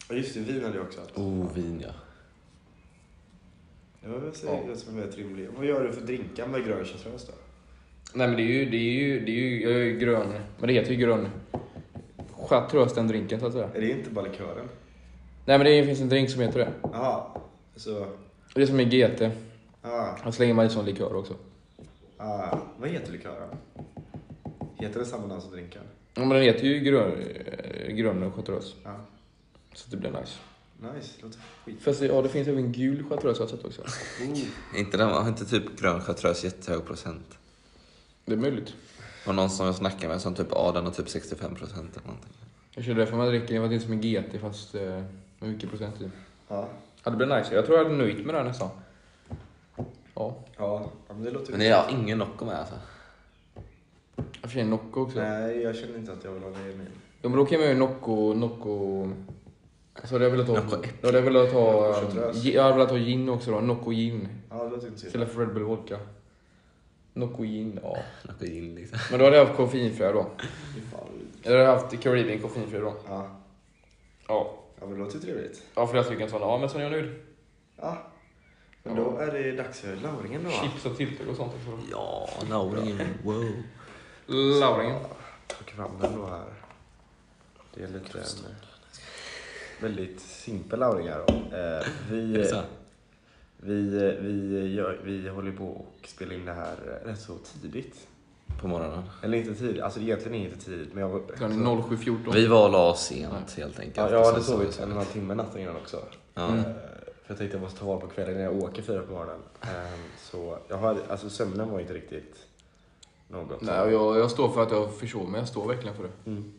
S1: Och just det, vin hade jag också haft.
S3: Oh, vin ja.
S1: Det var väl säkert det som är rätt rimligt. Vad gör du för drinkar med grön chartreuse då?
S2: Nej men det är ju, det är ju, det är ju, jag är ju grön, men det heter ju grön chartreuse den drinken så att säga.
S1: Är det inte bara likören?
S2: Nej men det finns en drink som heter det.
S1: Jaha. Så...
S2: Och det är som en GT.
S1: Ah,
S2: Och slänger man i sån likör också.
S1: ah. Vad heter likören? Heter det samma namn som drinken?
S2: Ja, men den heter ju grön, eh, grön chartreuse.
S1: Ja.
S2: Så det blir nice.
S1: Nice, det låter skit.
S2: Fast ja, det finns även gul chartreuse jag har sett också.
S1: Oh.
S3: Inte, den, har inte typ grön chartreuse jättehög procent?
S2: Det är möjligt.
S3: Och någon som jag snackade med som typ, ja den har typ 65 procent eller någonting.
S2: Jag körde därför man dricker, det var inte som en GT fast eh, med mycket procent i.
S1: Ja.
S2: Ja, det blir nice. Jag tror jag hade nöjt mig där nästan. Ja.
S1: Ja, ja, men det låter
S3: Men jag har ingen Nocco med alltså.
S2: Jag får en Nocco också.
S1: Nej, jag känner inte att jag vill ha det i min.
S2: Ja, men då kan man ju Nocco... Nocco... Så hade jag velat ha...
S3: Nocco äpple.
S2: Då hade jag velat ha...
S1: Nocco chartreuse.
S2: gi- Jag hade velat ha gin också då. Nocco gin.
S1: Ja, det låter inte så illa.
S2: Istället för Red Bull Vodka. Nocco gin, ja.
S3: Nocco gin liksom.
S2: Men då hade jag haft koffeinfria då.
S1: Fy fan, vad vidrigt.
S2: Eller haft Caribbean koffeinfri då.
S1: Ja.
S2: Ja.
S1: ja, men det låter trevligt.
S2: Ja, flera stycken sådana. Ja, men sen är jag nöjd.
S1: Ja. Men då är det dags för lauringen då. va?
S2: Chips och tilltugg och sånt också. då.
S3: Ja, Lauringen. Wow.
S2: Lauringen.
S1: Plocka fram den då här. Det är lite en eh, väldigt simpel lauring här då. Eh,
S3: Är det
S1: vi,
S3: så?
S1: vi, eh, vi, gör, vi håller på och spelar in det här eh, rätt så tidigt.
S3: På morgonen.
S1: Eller inte tidigt, alltså egentligen inte tidigt men jag var...
S2: Klockan är 07.14.
S3: Vi var och la oss sent helt enkelt.
S1: Ja, jag hade
S3: Och sen Mm.
S1: sovit
S3: så-
S1: en och en halv timme natten innan också.
S3: Ja.
S1: Eh, För jag tänkte jag måste ta vara på kvällen när jag åker fyra på morgonen. Eh, Så jag hade, alltså sömnen var inte riktigt något.
S2: Nej, och jag, jag står för att jag försov mig. Jag står verkligen för det.
S1: Mm.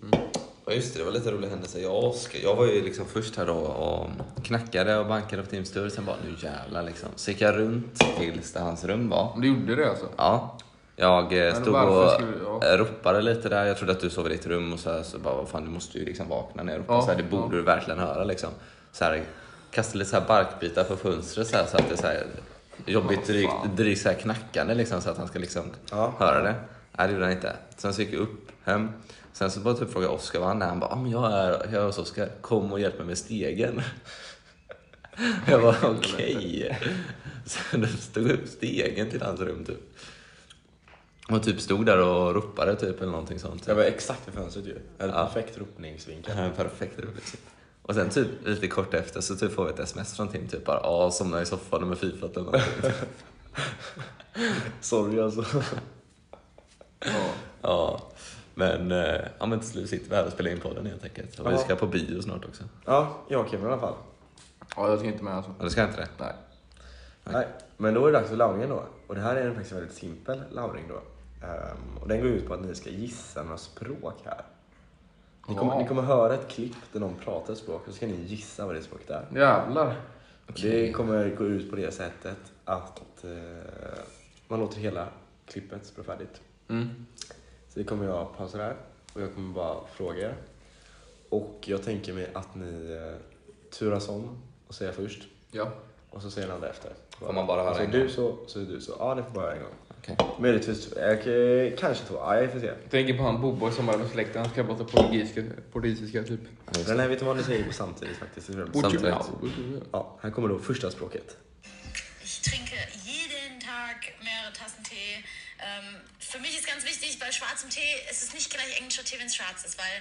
S3: Ja just det, det var lite rolig händelse. Jag, och Oskar, jag var ju liksom först här då och knackade och bankade på Tims dörr. Sen bara nu jävlar liksom. Så gick jag runt tills där hans rum var.
S2: Men du gjorde det alltså?
S3: Ja. Jag eh,
S2: Men
S3: stod
S2: varför
S3: och
S2: skulle- ja.
S3: eh, ropade lite där. Jag trodde att du sov i ditt rum och så, här, så bara vad fan du måste ju liksom vakna när jag ropar
S2: Ja,
S3: så här. Det borde du verkligen höra liksom. Så här, kastade lite så här barkbitar på fönstret så här så att det är så här jobbigt
S2: Vad
S3: drygt,
S2: fan.
S3: drygt så här knackande liksom så att han ska liksom
S1: Ja.
S3: höra det. Nej, det gjorde han inte. Sen så gick jag upp hem. Sen så bara typ frågade jag Oskar var han är. Han bara, ah, men jag är, jag är hos Oskar. Kom och hjälp mig med stegen. jag var okej. Sen de stod upp stegen till hans rum typ. Och typ stod där och ropade typ eller någonting sånt.
S1: Jag var exakt i fönstret ju. Jag hade
S3: Ja.
S1: perfekt ropningsvinkel.
S3: Ja, perfekt roligt. Och sen typ lite kort efter så typ får vi ett sms från Tim typ bara ja, somnar i soffan med fifat eller någonting. typ.
S1: Sorry alltså.
S2: Ja.
S3: ja. Men, eh, ja, men till slut sitter vi här och spelar in podden helt enkelt. Och vi
S1: Ja.
S3: ska på bio snart också.
S1: Ja, jag och Kevin i alla fall.
S2: ja, jag ska inte med alltså.
S3: Ja, du ska inte det?
S2: Nej.
S1: Nej. Men då är det dags för lauringen då. Och det här är en faktiskt väldigt simpel lauring då. Ehm, och den går ut på att ni ska gissa några språk här. Ni kommer,
S2: Wow.
S1: ni kommer höra ett klipp där någon pratar ett språk och så ska ni gissa vad det språket är.
S2: Jävlar.
S1: Det kommer gå ut på det sättet att eh, man låter hela klippet spela färdigt.
S2: Mm.
S1: Så det kommer jag pausa där och jag kommer bara fråga er. Och jag tänker mig att ni eh, turas om och säger först
S2: Ja.
S1: och så säger den andra efter.
S3: Får man bara höra
S1: alltså,
S3: en
S1: du
S3: gång?
S1: så, så är du så. Ja, det får bara höra en gång.
S3: Okej. Okej.
S1: Möjligtvis, jag, eh, kanske två. Ja, jag får se.
S2: Jag tänker på han Bobo som var med släkten, han ska prata portugisiska, portugisiska typ.
S3: Ja, just
S1: Den
S3: det.
S1: här vet du vad ni säger på samtidigt faktiskt.
S3: Samtidigt.
S1: Ja, här kommer då första språket.
S4: Ich trinke jeden Tag mehrere Tassen Tee. Ähm, für mich ist ganz wichtig, bei schwarzem Tee es ist nicht gleich englischer Tee, wenn es schwarz ist, weil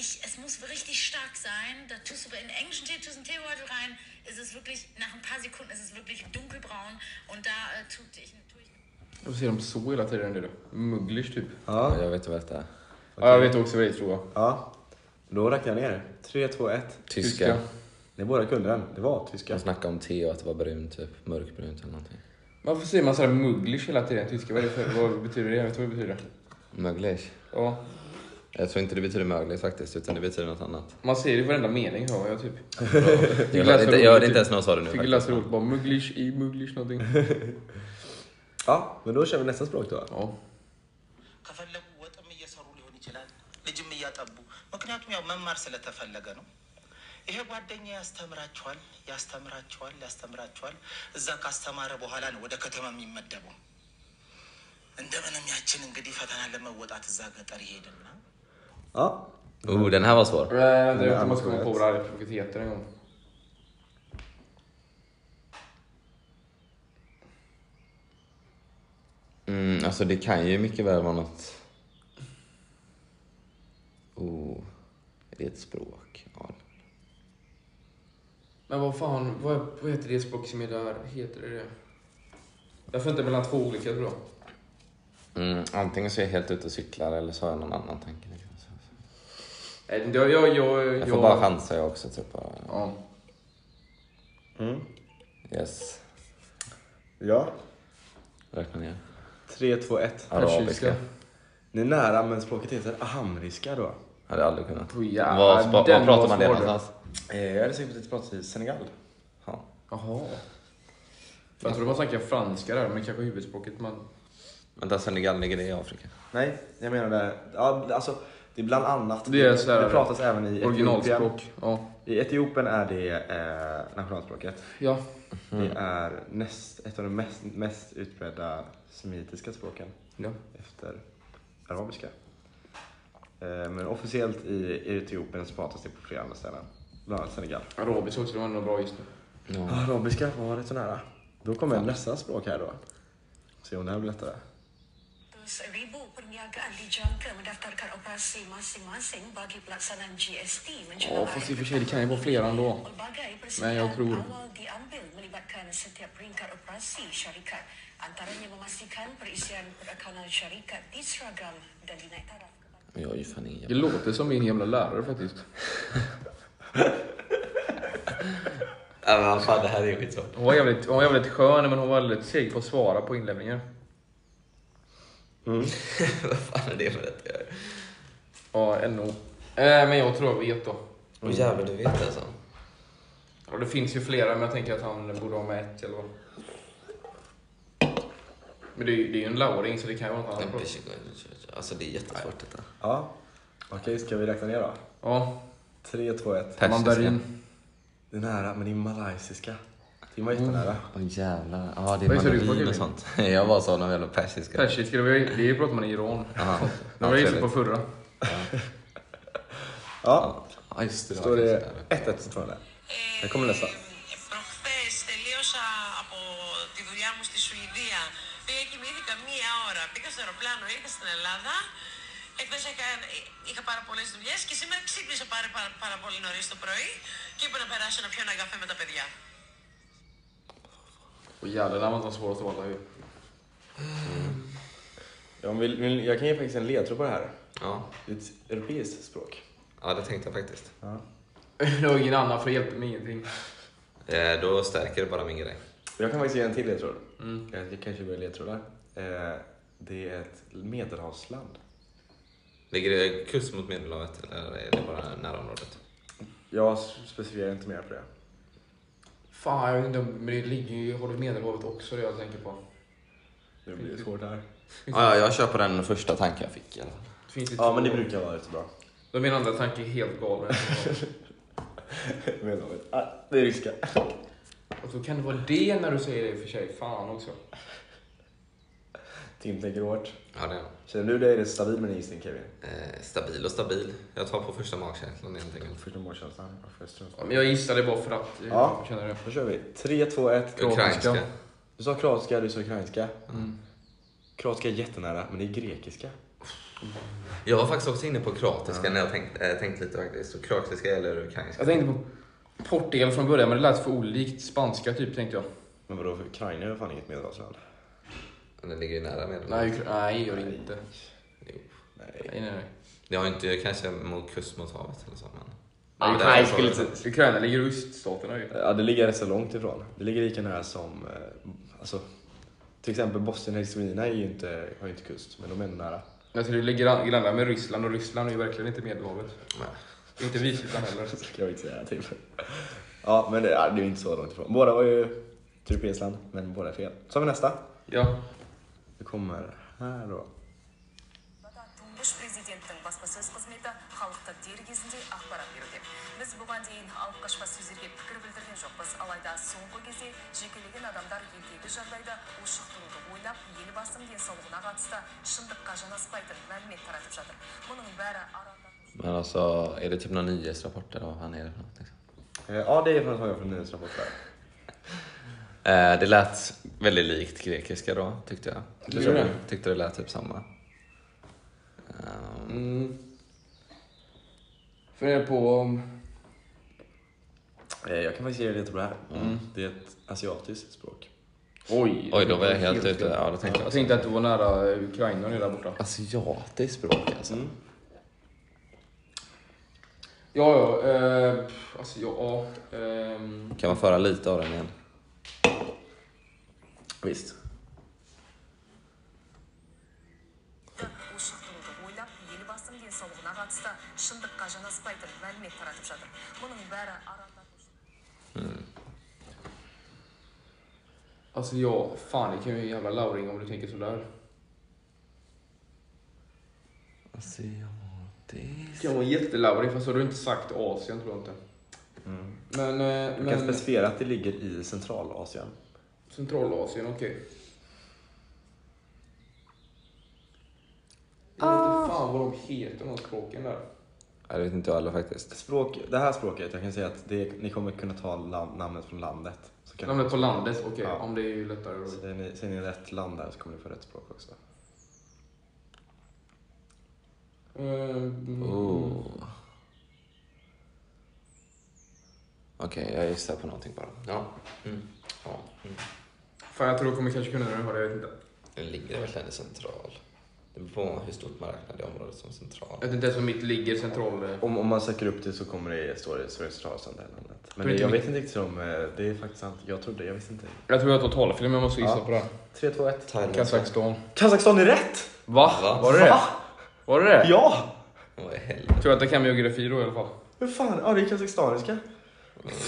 S4: ich, es muss richtig stark sein. Da tust du bei- in englischen Tee, tust einen Teebeutel rein, ist es wirklich, nach ein paar Sekunden ist es wirklich dunkelbraun und da äh, tue ich, tu ich
S2: Varför säger de så hela tiden nu då? Mugglish typ.
S1: Ja,
S3: Ja, jag vet vad det är.
S2: Ja, jag vet också vad det är tror jag.
S1: ja. Då räknar jag ner. Tre, två, ett.
S3: Tyska.
S1: Ni båda kunde den. Det var tyska.
S3: De snackade om te och att det var brunt, typ mörkbrunt eller någonting.
S2: Varför säger man sådär mugglish hela tiden i tyska? Vad, är det för, vad betyder det? Jag vet vad det betyder.
S3: Möglish.
S2: Ja,
S3: Jag tror inte det betyder möglish faktiskt, utan det betyder något annat.
S2: man säger det i varenda mening hör jag typ.
S3: Jag hörde inte, jag hörde inte ens någon sa det nu
S2: Fick ju
S3: faktiskt.
S2: läsa roligt bara mugglish i mugglish någonting.
S1: Ja, men då kör vi nästa språk då.
S2: Ja.
S5: ከፈለጉ ወጥም እየሰሩ ሊሆን ይችላል፣ ልጅም እያጠቡ። ምክንያቱም ያው መማር ስለተፈለገ ነው። ይሄ ጓደኛ ያስተምራቸዋል፣ ያስተምራቸዋል፣ ያስተምራቸዋል። እዛ ካስተማረ በኋላ ነው ወደ ከተማ የሚመደበው። እንደምንም ያችን እንግዲህ ፈተና ለመወጣት እዛ ገጠር ይሄድና
S1: Ja,
S3: Oh, den här var svår.
S2: Vänta, jag vet om man ska komma på vad det här språket heter en gång.
S3: Mm, alltså det kan ju mycket väl vara något... Oh, är det ett språk? Ja.
S2: Men vad fan, vad, vad heter det språk som är där? Heter det det? Jag får inte mellan två olika tror jag.
S3: Mm, antingen så är jag helt ute och cyklar eller så har jag någon annan tanke. Liksom. Så- så-
S2: Nej, jag, jag, jag,
S3: Jag får bara chansa jag också. Typ. bara-
S2: Ja.
S3: Yes.
S1: ja.
S3: Räkna ner.
S1: Tre, två, ett.
S3: Arabiska.
S2: Persiska.
S1: Ni är nära, men språket heter ahamriska då.
S3: Hade jag aldrig kunnat.
S2: Oh, jävlar,
S3: vad, spa- vad
S2: den
S3: pratar
S2: var
S3: man det
S2: svår.
S3: någonstans?
S1: Eh, Jag hade säkert inte pratat i Senegal.
S3: Ja.
S2: Jaha. Jag trodde man snackade franska där, men kanske huvudspråket man...
S3: Vänta, Senegal ligger det i Afrika?
S1: Nej, jag menade... Ja, alltså, det är bland annat.
S2: Det är så här-
S1: det pratas även i Etiopien.
S2: Originalspråk. Ja.
S1: I Etiopien är det eh, nationalspråket.
S2: ja. Mm.
S1: Det är näst, ett av de mest, mest utbredda semitiska språken
S2: ja.
S1: efter arabiska. Eh, Men officiellt i Etiopien så pratas det på flera andra ställen. Bland annat Senegal.
S2: Arabiska också, det var nog bra just nu.
S3: Ja.
S1: Mm. Arabiska, var det så nära. Då kommer nästa språk här då. Se om det här blir lättare.
S6: Terus ribu perniagaan dijangka mendaftarkan operasi masing-masing bagi pelaksanaan GST
S2: Ja,
S6: menjelang
S2: fast i och
S6: akhir
S2: för sig, det kan ju vara flera ändå.
S6: Pelbagai
S2: Nah, yang
S6: persediaan
S2: kru.
S6: awal diambil melibatkan setiap peringkat operasi syarikat antaranya memastikan perisian perakanan syarikat diseragam dan dinaik taraf kepada
S3: Jag är ju fan ingen
S2: Det
S3: jävla...
S2: låter som min jävla lärare faktiskt.
S3: Ja, men fan, det här är ju skitsvårt.
S2: Hon var jävligt, hon var jävligt skön, men hon var väldigt seg på att svara på inlämningar.
S3: vad fan är det för rätt jag gör?
S2: Ja, NO. Eh, men jag tror jag vet då.
S3: Åh jävlar, du vet alltså.
S2: Och det finns ju flera, men jag tänker att han borde ha med ett eller vad. Men det är ju det är ju en lauring, så det kan ju vara något annat. språk.
S3: Alltså det är jättesvårt detta.
S1: Ja. Okej, ska vi räkna ner då?
S2: Ja,
S1: 3, 2, 1.
S3: Persiska.
S2: mandarin.
S1: Det är nära, men det är malaysiska. Det var jättenära.
S3: Åh jävlar. Ja, det är
S2: Vad sa du,
S3: mandarin
S2: Jörgen?
S3: och sånt. Jag bara sa någon jävla persiska.
S2: Persiska, det var ju- det pratar man i Iran.
S3: Jaha.
S2: Det var jag på förra.
S1: Ja,
S3: Ja, just det. det var
S1: står det
S3: persiska.
S1: 1-1 fortfarande. Här kommer nästa.
S7: Προχθέ τελείωσα από τη δουλειά μου στη Σουηδία. Πήγα κοιμήθηκα Ε, μία ώρα. Πήγα στο αεροπλάνο, ήρθα στην Ελλάδα. Εχθές είχα, είχα πάρα πολλέ δουλειέ και σήμερα ξύπνησα πάρα, πάρα, πάρα πολύ νωρί το πρωί και είπα να περάσω να πιω ένα καφέ με τα παιδιά.
S2: Och jävlar, den var inte svårast av alla ju.
S1: Ja, vill, vill, jag kan ge faktiskt en ledtråd på det här.
S3: Ja.
S1: Det är ett europeiskt språk.
S3: ja, det tänkte jag faktiskt.
S2: Det var ingen annan, för det hjälpte mig ingenting.
S3: Eh, Då stärker det bara min grej.
S1: Jag kan faktiskt ge en till ledtråd. Jag, jag kanske börjar ledtrådar. Eh, det är ett medelhavsland.
S3: Ligger det kust mot Medelhavet eller är det bara närområdet?
S1: Jag specificerar inte mer på det.
S2: Fan, jag vet inte, om- men det ligger ju, har du Medelhavet också det jag tänker på?
S1: Det blir svårt här.
S3: Ja, ja, jag kör på den första tanken jag fick i alla fall.
S2: Det finns ju
S1: Ja, men det
S2: två-
S1: brukar vara rätt så bra.
S2: Då är min andra tanke helt galen.
S1: Medelhavet. Ah, det är ryska.
S2: Och så kan det vara det när du säger det i och för sig. Fan också.
S1: Tim tänker hårt.
S3: Ja, det är jag.
S1: Känner du dig rätt stabil med din gissning Kevin?
S3: Eh, stabil och stabil. Jag tar på första magkänslan helt enkelt.
S1: Första målkänslan. Varför jag struntar.
S2: Ja, men jag gissade bara för att eh,
S1: Ja.
S2: jag känner det.
S1: Då kör vi. 3, 2, 1. Kroatiska.
S3: Ukrainska.
S1: Du sa kroatiska, du sa ukrainska. Kroatiska är jättenära, men det är grekiska.
S3: Jag var faktiskt också inne på kroatiska när jag tänkt, eh, tänkt lite faktiskt. Så kroatiska eller ukrainska.
S2: Jag tänkte på Portugal från början men det lät för olikt spanska typ tänkte jag.
S1: Men vadå, för Ukraina är ju fan inget medelhavsland.
S3: Den ligger ju nära med.
S2: Nej, Ukra- nej gör det inte.
S3: Jo.
S1: Nej.
S2: Nej, nej, nej.
S3: Jag har inte kanske mot kust mot havet eller så. Men...
S1: Ja,
S3: Men
S1: det
S3: där
S1: här
S3: är
S1: skulle
S3: så-
S1: inte-
S2: Ukraina ligger i öststaterna ju.
S1: Ja, det ligger rätt så långt ifrån. Det ligger lika nära som... Eh, alltså, till exempel Bosnien och Hercegovina är ju inte, har ju inte kust, men de är ändå nära.
S2: Alltså det ligger gran- grannar med Ryssland och Ryssland är ju verkligen inte Medelhavet.
S3: Nej.
S2: Inte Vitryssland heller.
S1: Så kan jag inte säga typ. Ja, men det, ja, det är ju inte så långt ifrån. Båda var ju ett europeiskt land, men båda är fel. Så har vi nästa.
S2: Ja.
S1: Det kommer här då.
S8: тұңғыш президенттің баспасөз қызметі халықты дер кезінде ақпарат беруде біз бұған дейін алып қашпа сөздерге пікір білдірген жоқпыз алайда соңғы кезде жекелеген адамдар елдегі жағдайды ушықтыруды ойлап елбасының денсаулығына қатысты шындыққа жанаспайтын мәлімет таратып жатыр мұның бәрі арандату
S3: Men alltså, är det typ några nyhetsrapporter och han är det något, liksom?
S1: Eh, Ja, det är från Saga från nyhetsrapporter.
S3: eh, Det lät väldigt likt grekiska då, tyckte jag.
S2: Tycker du det?
S3: Tyckte det lät typ samma. Ehm,
S2: Mm. Funderar på om...
S1: Eh, Jag kan faktiskt ge er lite på det här. Mm. Det är ett asiatiskt språk.
S2: Oj.
S3: Oj, då var jag helt ute. Ja, då tänkte
S2: Jag
S3: jag.
S2: tänkte att du var nära Ukraina nu där borta.
S3: Asiatiskt språk alltså.
S1: Mm.
S2: Ja, ja. Eh, pff, alltså, ja. ja, ehm.
S3: Kan man föra lite av den igen?
S1: Visst.
S8: ушықтыруды ойлап елбасының денсаулығына қатысты шындыққа жанаспайтын мәлімет таратып жатыр мұның бәрі арандату
S2: Alltså ja, fan det kan ju en jävla lauring om du tänker sådär. Det
S3: Asiatiskt.
S2: kan vara jättelauring fast har du inte sagt Asien tror jag inte. Men, eh,
S1: Jag kan
S2: men
S1: specificera att det ligger i Centralasien.
S2: Centralasien, okej. Jag vet inte fan vad de heter de här språken där.
S3: Jag vet inte jag heller faktiskt.
S1: Språk, det här språket, jag kan säga att det, ni kommer kunna ta nam- namnet från landet. Så kan
S2: Namnet på landet, okej.
S1: Ja.
S2: Om det är ju lättare då.
S1: Säger ni, säger ni rätt land där så kommer ni få rätt språk också.
S2: Ehm,
S3: Oh. Okej, jag gissar på någonting bara. Ja. Mm. ja. Mm.
S2: Fan jag tror jag kommer kanske kunna den här, jag vet inte.
S3: Den ligger verkligen i central. Det beror på hur stort man räknar det området som central.
S2: Jag vet inte ens var mitt ligger central... eh.
S1: Om, om man söker upp det så kommer det stå det Sveriges Centralasien, det här landet. Men
S2: Tror
S1: det,
S2: inte
S1: jag
S2: mycket.
S1: vet inte riktigt om, eh, det är faktiskt sant. Jag trodde, jag visste inte.
S2: Jag tror jag tar talfilm, jag måste gissa
S1: Ja.
S2: på det. här.
S1: 3, 2, 1.
S3: Thailand.
S2: Kazakstan.
S1: Kazakstan är rätt!
S2: Va?
S3: Va?
S2: Var det det? Var det det?
S1: Ja!
S3: Vad i helvete?
S2: Tror jag att jag kan med geografi då i alla fall.
S1: Hur fan, ja det är kazakstaniska.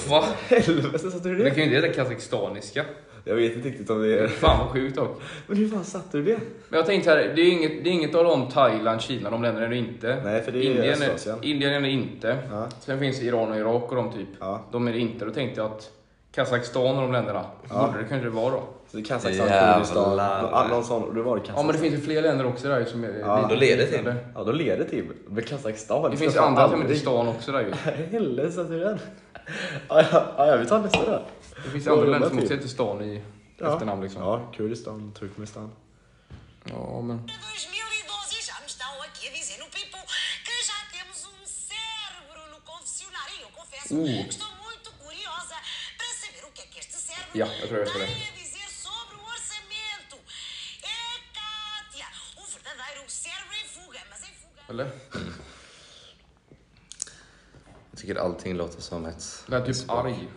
S2: Va?
S1: Helvete satte du
S2: Det
S1: det?
S2: kan ju inte heta kazakstaniska.
S1: Jag vet inte riktigt om det är...
S2: Fan vad sjukt dock.
S1: Men hur fan satte du det?
S2: Men jag tänkte här, det är inget, det är inget av dem Thailand, Kina, de länderna är det inte.
S1: Nej, för det är
S2: Indien,
S1: Östasien.
S2: är, Indien är det inte.
S1: Ja.
S2: Sen finns Iran och Irak och de typ.
S1: Ja.
S2: De är det inte. Då tänkte jag att Kazakstan och de länderna borde det kanske vara då.
S1: Så Kazakstan,
S3: Jävlar.
S1: Kurdistan, någon- någon sån. Då var det
S2: Ja men det
S1: Kazakstan.
S2: finns ju fler länder också där ju som är
S1: Ja,
S2: lite
S3: då leder det till.
S2: liknande.
S1: Ja, då leder det till men Kazakstan. Alltså,
S2: Det finns
S1: ska fan
S2: andra som heter
S1: aldrig-
S2: stan också där ju.
S1: Helvete satte du den? Ja, ja, ja, vi tar nästa då.
S2: Det finns
S1: Ja,
S2: andra
S1: det lär
S2: länder som
S1: till.
S2: också heter stan i
S1: typ. Ja.
S2: efternamn liksom. Ja.
S1: Ja, Kurdistan, Turkmenistan.
S2: men.
S4: 2012 e já me estão aqui a dizer no Pipo que já temos um cérebro no confessionário. E eu confesso
S2: Uh.
S4: que estou muito curiosa para saber o que é que este cérebro
S2: Yeah, eu também gostaria.
S4: tem a dizer sobre o orçamento. É Kátia, um verdadeiro cérebro em fuga, mas em fuga.
S2: Eller?
S3: Jag tycker allting låter som ett...
S2: Lät typ arg.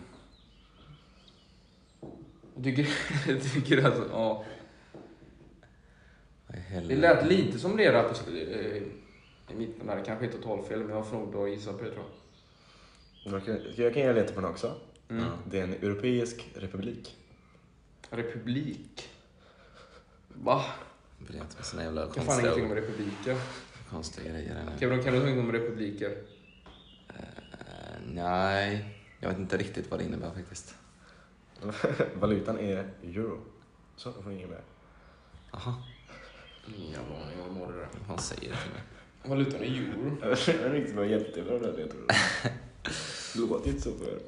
S2: Jag tycker, jag tycker alltså, ja.
S3: Vad
S2: Det
S3: i helvete?
S2: lät lite som det där på, sl- eh, i mitten där. Kanske inte totalfel, men jag får nog då gissa på det tror jag.
S1: Jag kan, jag kan ge lite på den också.
S2: Mm.
S1: Det är en europeisk republik.
S2: Republik. Va?
S3: Jag blir inte med såna jävla
S2: Jag kan fan ingenting
S3: konstiga,
S2: om republiker.
S3: konstiga grejer här nu.
S2: Kan du, kan du någonting om republiker?
S3: Eh, nej, jag vet inte riktigt vad det innebär faktiskt.
S1: Valutan är euro. Så, då får ingen mer.
S3: Aha.
S2: Ingen jävla aning vad de har det där.
S3: Vad fan säger det till mig?
S2: Valutan är euro.
S1: Jag vet inte vad jättebra det jag tror. Det låter inte så för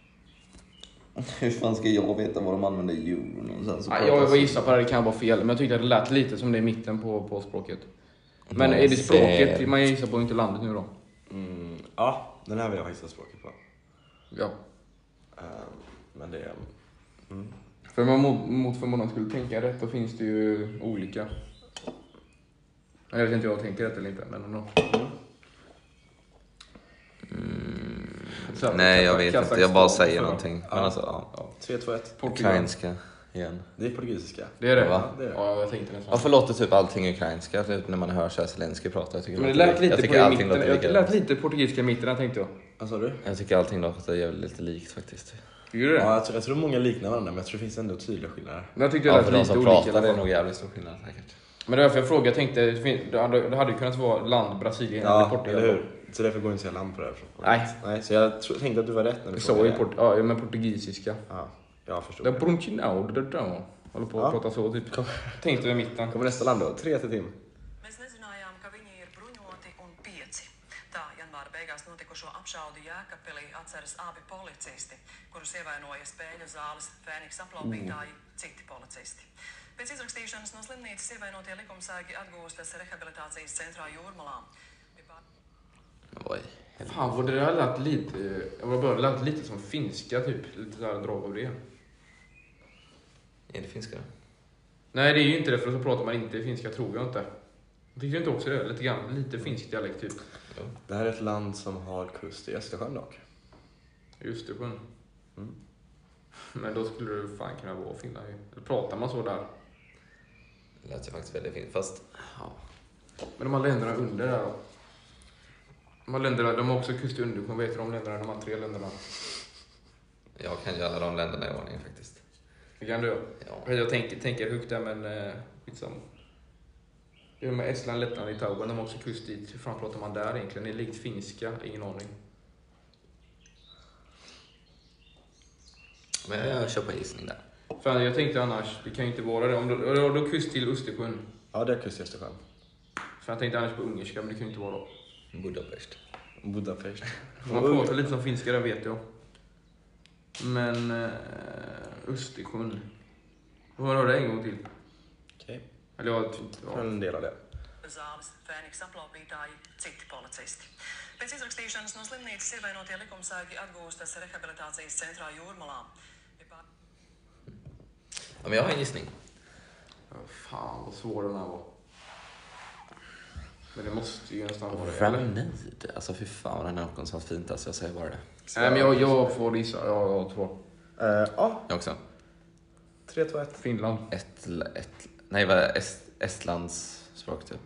S3: Hur fan ska jag veta vad de använder euro någonstans?
S2: Ja, jag var gissar på det, det kan vara fel. Men jag tyckte att det lät lite som det i mitten på, på språket. Men är det språket man gissar på, inte landet nu då?
S1: mm, Ja, den här vill jag gissa språket på.
S2: Ja.
S1: Ehm, men det är...
S2: För om man mot, mot förmodan skulle tänka rätt, då finns det ju olika. Jag vet inte om jag tänker rätt eller inte, men ändå. Så-
S3: Mm. Nej, jag vet inte. Jag bara säger
S2: Kazakstan,
S3: någonting. Men alltså, ja.
S1: Ja, 3-2-1.
S2: Portugal.
S3: Ukrainska igen.
S1: Det är portugisiska.
S2: Det är det?
S3: Va?
S1: Det är det.
S2: Ja, jag tänkte nästan.
S3: Ja, förlåt, typ allting ukrainska typ, när man hör så här Zelensky prata. Jag tycker,
S2: Men det
S3: låter-
S2: lät lite
S3: jag
S2: på
S3: tycker
S2: det i
S3: allting
S2: mitten.
S3: låter
S2: Det lät
S3: lika.
S2: lite portugisiska i mitten, där tänkte jag.
S1: Vad sa du?
S3: Jag tycker allting låter jävligt lite likt faktiskt.
S2: Gjorde du det?
S1: Ja, jag, tror, jag tror många liknar varandra men jag tror det finns ändå tydliga skillnader.
S2: Men jag tyckte det
S3: Ja,
S2: lät
S3: för de
S2: lite
S3: som
S2: olika. i
S3: pratar
S2: alla
S3: det är
S2: fall.
S3: nog jävligt stor skillnad säkert.
S2: Men det var därför jag frågade. Jag tänkte, det fin- det hade det hade ju kunnat vara land Brasilien eller
S1: Ja,
S2: Portugal.
S1: eller hur? Så därför går jag inte så land på det här.
S2: Nej.
S1: Nej, så jag tro, tänkte att du var rätt när du
S2: Jag sa ju port- ja, men portugisiska.
S1: Ja, jag förstod.
S2: Det
S1: Det
S2: är Bruntinau, det där då. Håller på
S1: Ja.
S2: att prata så typ. Tänkte vi i mitten.
S1: Kommer nästa land då? 3 till Tim.
S8: Mēs nezinājām, ka viņi ir bruņoti un pieci. Tā janvāra beigās notikušo apšaudi Jēkabpilī atceras abi policisti, kurus ievainoja spēļu zāles Fēniks aplaupītāji, citi policisti. Pēc izrakstīšanas no slimnīcas ievainotie likumsēgi atgūstas rehabilitācijas centrā Jūrmalā. Bija pār-
S3: Oj.
S2: Fan vad det där lät lite, jag var bara det lät lite som finska typ. Lite såhär drag av det.
S3: Är det finska då?
S2: Nej det är ju inte det för så pratar man inte finska tror jag inte. Tyckte du inte också det? Lite grann, lite finsk dialekt typ.
S1: Det här är ett land som har kust i Östersjön dock.
S2: Just det, sjön. Mm. Men då skulle du fan kunna vara Finland ju. Eller pratar man så där?
S3: Det lät ju faktiskt väldigt fint. Fast ja.
S2: Men de här länderna under där då? De här länderna, de har också kust under. Vad heter de länderna? De här tre länderna.
S3: jag kan ju alla de länderna i ordning faktiskt.
S2: Det kan du göra.
S3: Ja.
S2: Jag tänker, tänker högt där men eh, skitsamma. Det är med Estland, Lettland, Litauen, de har också kust dit. Hur fan pratar man där egentligen? Det är likt finska, ingen aning.
S3: Men jag kör på gissning där.
S2: Fan, jag tänkte annars, det kan ju inte vara det. Om du, har du kust till Östersjön?
S1: Ja, det är kust i Östersjön.
S2: För jag tänkte annars på ungerska, men det kan ju inte vara det.
S3: Budapest.
S1: Budapest.
S2: Man pratar lite som finska, det vet jag. Men eh, Östersjön. Jag får höra det en gång till.
S1: Okej,
S2: Eller jag...
S1: okay.
S2: Ja.
S1: en del av det.
S8: zāles, Fēniks aplaupītāji, citi policisti. Pēc izrakstīšanas no slimnīcas ievainotie likumsēgi atgūstas rehabilitācijas centrā Jūrmalā. Bija pār-
S3: Ja, men jag har en gissning.
S2: Fan vad svår den här var. Men det måste ju nästan vara det. eller?
S3: Ramnid. Alltså fy fan vad den här någon så fint alltså. Jag säger bara det.
S2: Nej men jag, jag får gissa. Jag, jag tror
S1: Eh, Ja,
S3: Jag också.
S1: 3, 2, 1.
S2: Finland.
S3: Ett, ett, nej vad är Est, Estlands språk typ.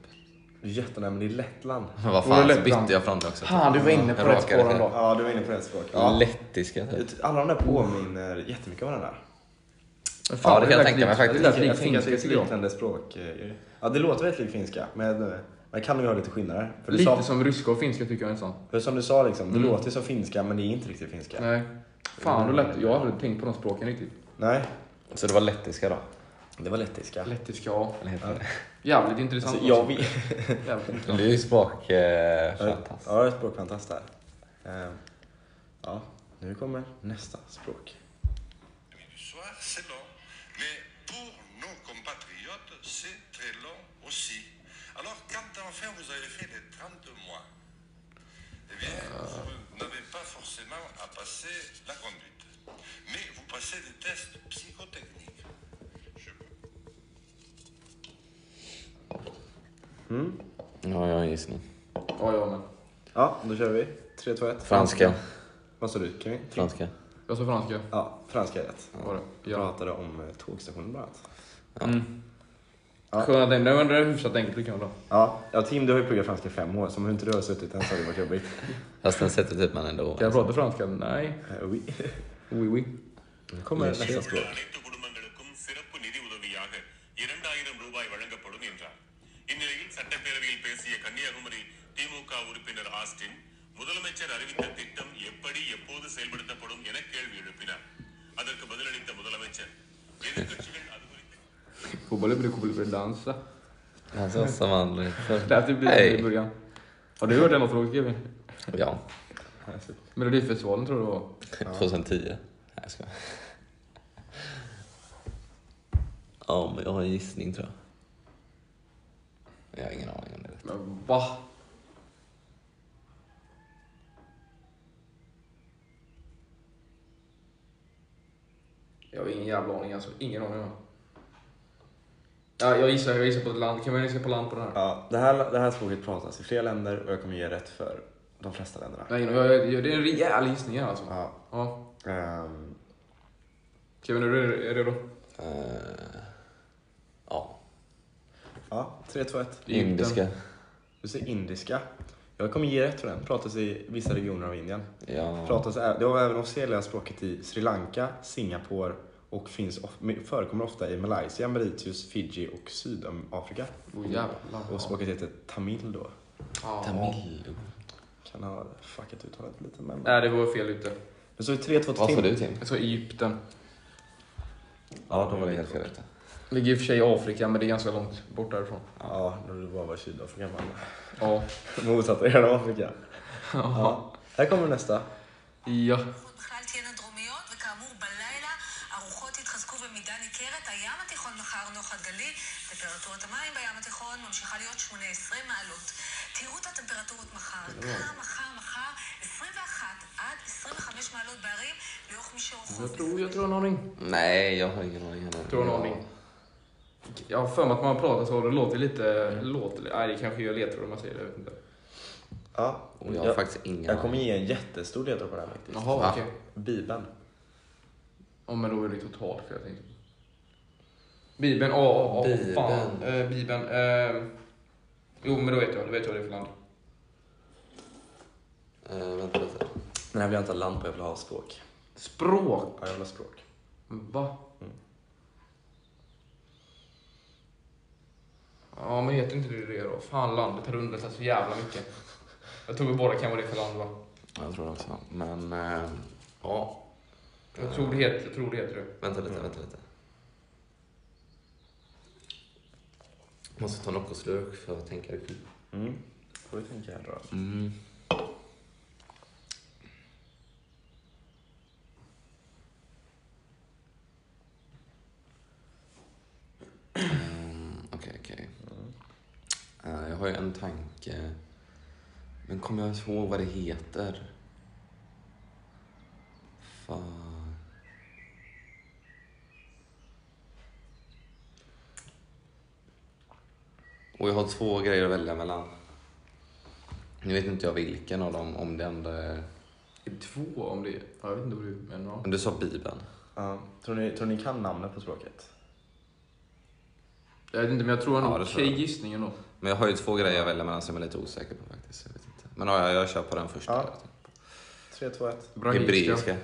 S1: Jättenära, men det är Lettland.
S3: Vad
S2: Var
S3: fan,
S2: det
S3: så
S2: Lettland?
S3: bytte jag från det också.
S2: Fan, du var inne på
S3: Jag
S2: rätt
S3: råkade
S2: spår
S3: fel.
S2: ändå.
S1: Ja, du var inne på rätt språk.
S3: Lettiska typ.
S1: Alla de där påminner jättemycket om varandra.
S2: Men
S3: Ja, det kan jag
S2: lät
S3: tänka mig
S2: likt-
S3: faktiskt.
S2: Det lät
S1: Jag
S2: likt
S1: tänker att det
S2: finska
S1: är ett
S2: tycker jag.
S1: liknande språk. eh, Ja, det låter väldigt likt finska, men eh, man kan ju ha lite skillnader. För du sa,
S2: Lite som ryska och finska tycker jag nästan.
S1: för som du sa, liksom, det låter som finska, men det är inte riktigt finska.
S2: Nej. Fan vad lätt. Jag har aldrig tänkt på de språken riktigt.
S1: Nej,
S3: Så det var lettiska då?
S1: det var lettiska.
S2: Lettiska, ja.
S3: Eller heter det?
S2: Jävligt intressant.
S1: Alltså, jag vet...
S2: alltså. Jävligt intressant.
S3: Du är ju språk... Eh,
S1: Ja,
S3: fantast.
S1: jag är språkfantast där. Eh, Ja, nu kommer nästa språk.
S9: du soir, c'est long. Mais pour nos compatriotes, c'est très long aussi. Alors, quand enfin vous avez fait les 30 mois, eh bien, vous n'avez pas forcément à passer la conduite. Mais vous passez des tests psychotechniques. Je peux
S3: Nu har jag en gissning.
S2: Ja, jag med.
S1: Ja, då kör vi. 3, 2, 1.
S3: Franska.
S1: Vad sa du? Kan vi?
S3: Franska.
S2: Jag sa franska.
S1: Ja, franska är rätt.
S2: Var det.
S1: Jag
S2: Ja.
S1: pratade om eh, tågstationen bland annat.
S2: Sköna den. Det var hyfsat enkelt tycker jag då.
S1: Ja, ja, Tim, du har ju pluggat franska i fem år, så om inte du har suttit än så har det varit jobbigt.
S3: Fast den sätter typ man ändå...
S2: Kan jag prata franska? Nej.
S1: Eh, oui.
S2: Oui, oui.
S1: Nu kommer nästa språk.
S9: அனைத்து குடும்பங்களுக்கும் சிறப்பு நிதி உதவியாக இரண்டாயிரம் ரூபாய் வழங்கப்படும் என்றார் இந்நிலையில் சட்டப்பேரவையில் பேசிய கன்னியாகுமரி திமுக உறுப்பினர் ஆஸ்டின் முதலமைச்சர் அறிவித்த திட்டம் எப்படி எப்போது செயல்படுத்தப்படும் என கேள்வி எழுப்பினார் அதற்கு பதிலளித்த முதலமைச்சர் எதிர்க்கட்சிகள் அது குறித்து
S2: Får Kobale blir Kobale blir dansa.
S3: Alltså som vanligt.
S2: Det här typ blir
S3: Hej.
S2: i början. Har du hört den låten också Kevin?
S3: Ja,
S2: Melodifestivalen tror jag det var.
S3: 2010. Nej, jag skojar. Ja, men jag har en gissning tror jag. Men Jag har ingen aning om det är rätt.
S2: Men va? Jag har ingen jävla aning alltså. Ingen aning. va? Ja, jag gissar, jag gissar på ett land. Kan man gissa på land på den här?
S1: Ja, det, här, det här språket pratas i fler länder och jag kommer ge rätt för de flesta länderna.
S2: Nej, jag, jag, jag, det är en rejäl gissning här alltså.
S1: Ja,
S2: Ja.
S1: ehm,
S2: Kevin, är du är du redo?
S3: Eh, ja,
S1: ja 3, 2, 1.
S2: Egypten.
S3: indiska.
S1: Du säger indiska. Jag kommer ge rätt för den. Pratas i vissa regioner av Indien.
S3: Ja,
S1: Pratas, ä- det har även officiella språket i Sri Lanka, Singapore och finns of, förekommer ofta i Malaysia, Mauritius, Fiji och Sydafrika.
S2: Åh jävlar.
S1: Och språket heter tamil då.
S2: Ja.
S3: tamil.
S1: Kan ha fuckat uttalet lite men...
S2: Nej, det var fel ute.
S1: Men så är det 3, 2, 1
S3: Äh. Vad sa du Tim?
S2: Jag sa Egypten.
S3: Ja, då var det helt fel rätt.
S2: Ligger i och för sig i Afrika, men det är ganska långt bort därifrån.
S1: Ja, då det bara var Sydafrika man.
S2: Ja.
S1: Motsatta delen av Afrika. Ja. Här kommer nästa.
S2: Ja.
S8: בכלל תהיינה דרומיות, וכאמור בלילה הרוחות יתחזקו במידה ניכרת. הים התיכון מחר נוחת גלי, טמפרטורת המים בים התיכון ממשיכה להיות 18 מעלות. תראו את הטמפרטורות מחר, קר מחר מחר, 21 עד 25 מעלות בערים, לאורך מישור חוף.
S2: Jag tror, jag tror jag har en aning.
S3: Nej, jag har ingen aning. heller.
S2: Tror någon aning. Jag har för mig att man pratar så, det låter lite... Låter, nej, det kanske jag letar om man säger det. Jag vet inte.
S1: Ja.
S3: Och jag har faktiskt ingen
S1: Jag kommer ge en jättestor ledtråd på den här faktiskt.
S2: Jaha,
S3: Va?
S2: okej.
S1: Bibeln.
S2: Ja, men då är det totalt fel. jag tänkte. Bibeln, åh, åh, åh,
S3: Bibeln.
S2: fan. Eh, Bibeln. Eh, jo, men då vet jag. Då vet jag vad det är för land.
S3: Eh, vänta lite.
S1: Den här vill jag inte ha land på, jag vill ha språk.
S2: Språk. Mm.
S1: Ja, jag vill ha språk.
S2: Va? Ja, men heter inte det det då? Fan, landet har underlättat så jävla mycket. Jag tror vi båda kan vara det för land, va?
S3: Jag tror det också. Men, eh, ja.
S2: Jag tror det heter, jag tror det, heter det.
S3: Vänta lite, vänta lite. Måste ta något slurk för att tänka ut.
S1: Mm. Får vi tänka här då.
S3: Mm. Ehm, Okej, okej. Eh, Jag har ju en tanke. Men kommer jag ens ihåg vad det heter? Fan. Och jag har två grejer att välja mellan. Nu vet inte jag vilken av dem, om den där...
S2: Är det Typ två om det är? Ja, jag vet inte vad du menar.
S3: Men Du sa Bibeln.
S1: Ja. Tror, ni, tror ni kan namnet på språket?
S2: Jag vet inte, men jag tror han
S3: Ja,
S2: har
S3: det
S2: en
S3: tror jag.
S2: okej gissning ändå.
S3: Men jag har ju två grejer jag väljer mellan som jag är lite osäker på faktiskt. Jag vet inte. Men ja, jag, jag kör på den första.
S1: Ja.
S3: Jag
S1: 3,
S3: tänker
S1: 2, 1.
S3: på. Hebreiska.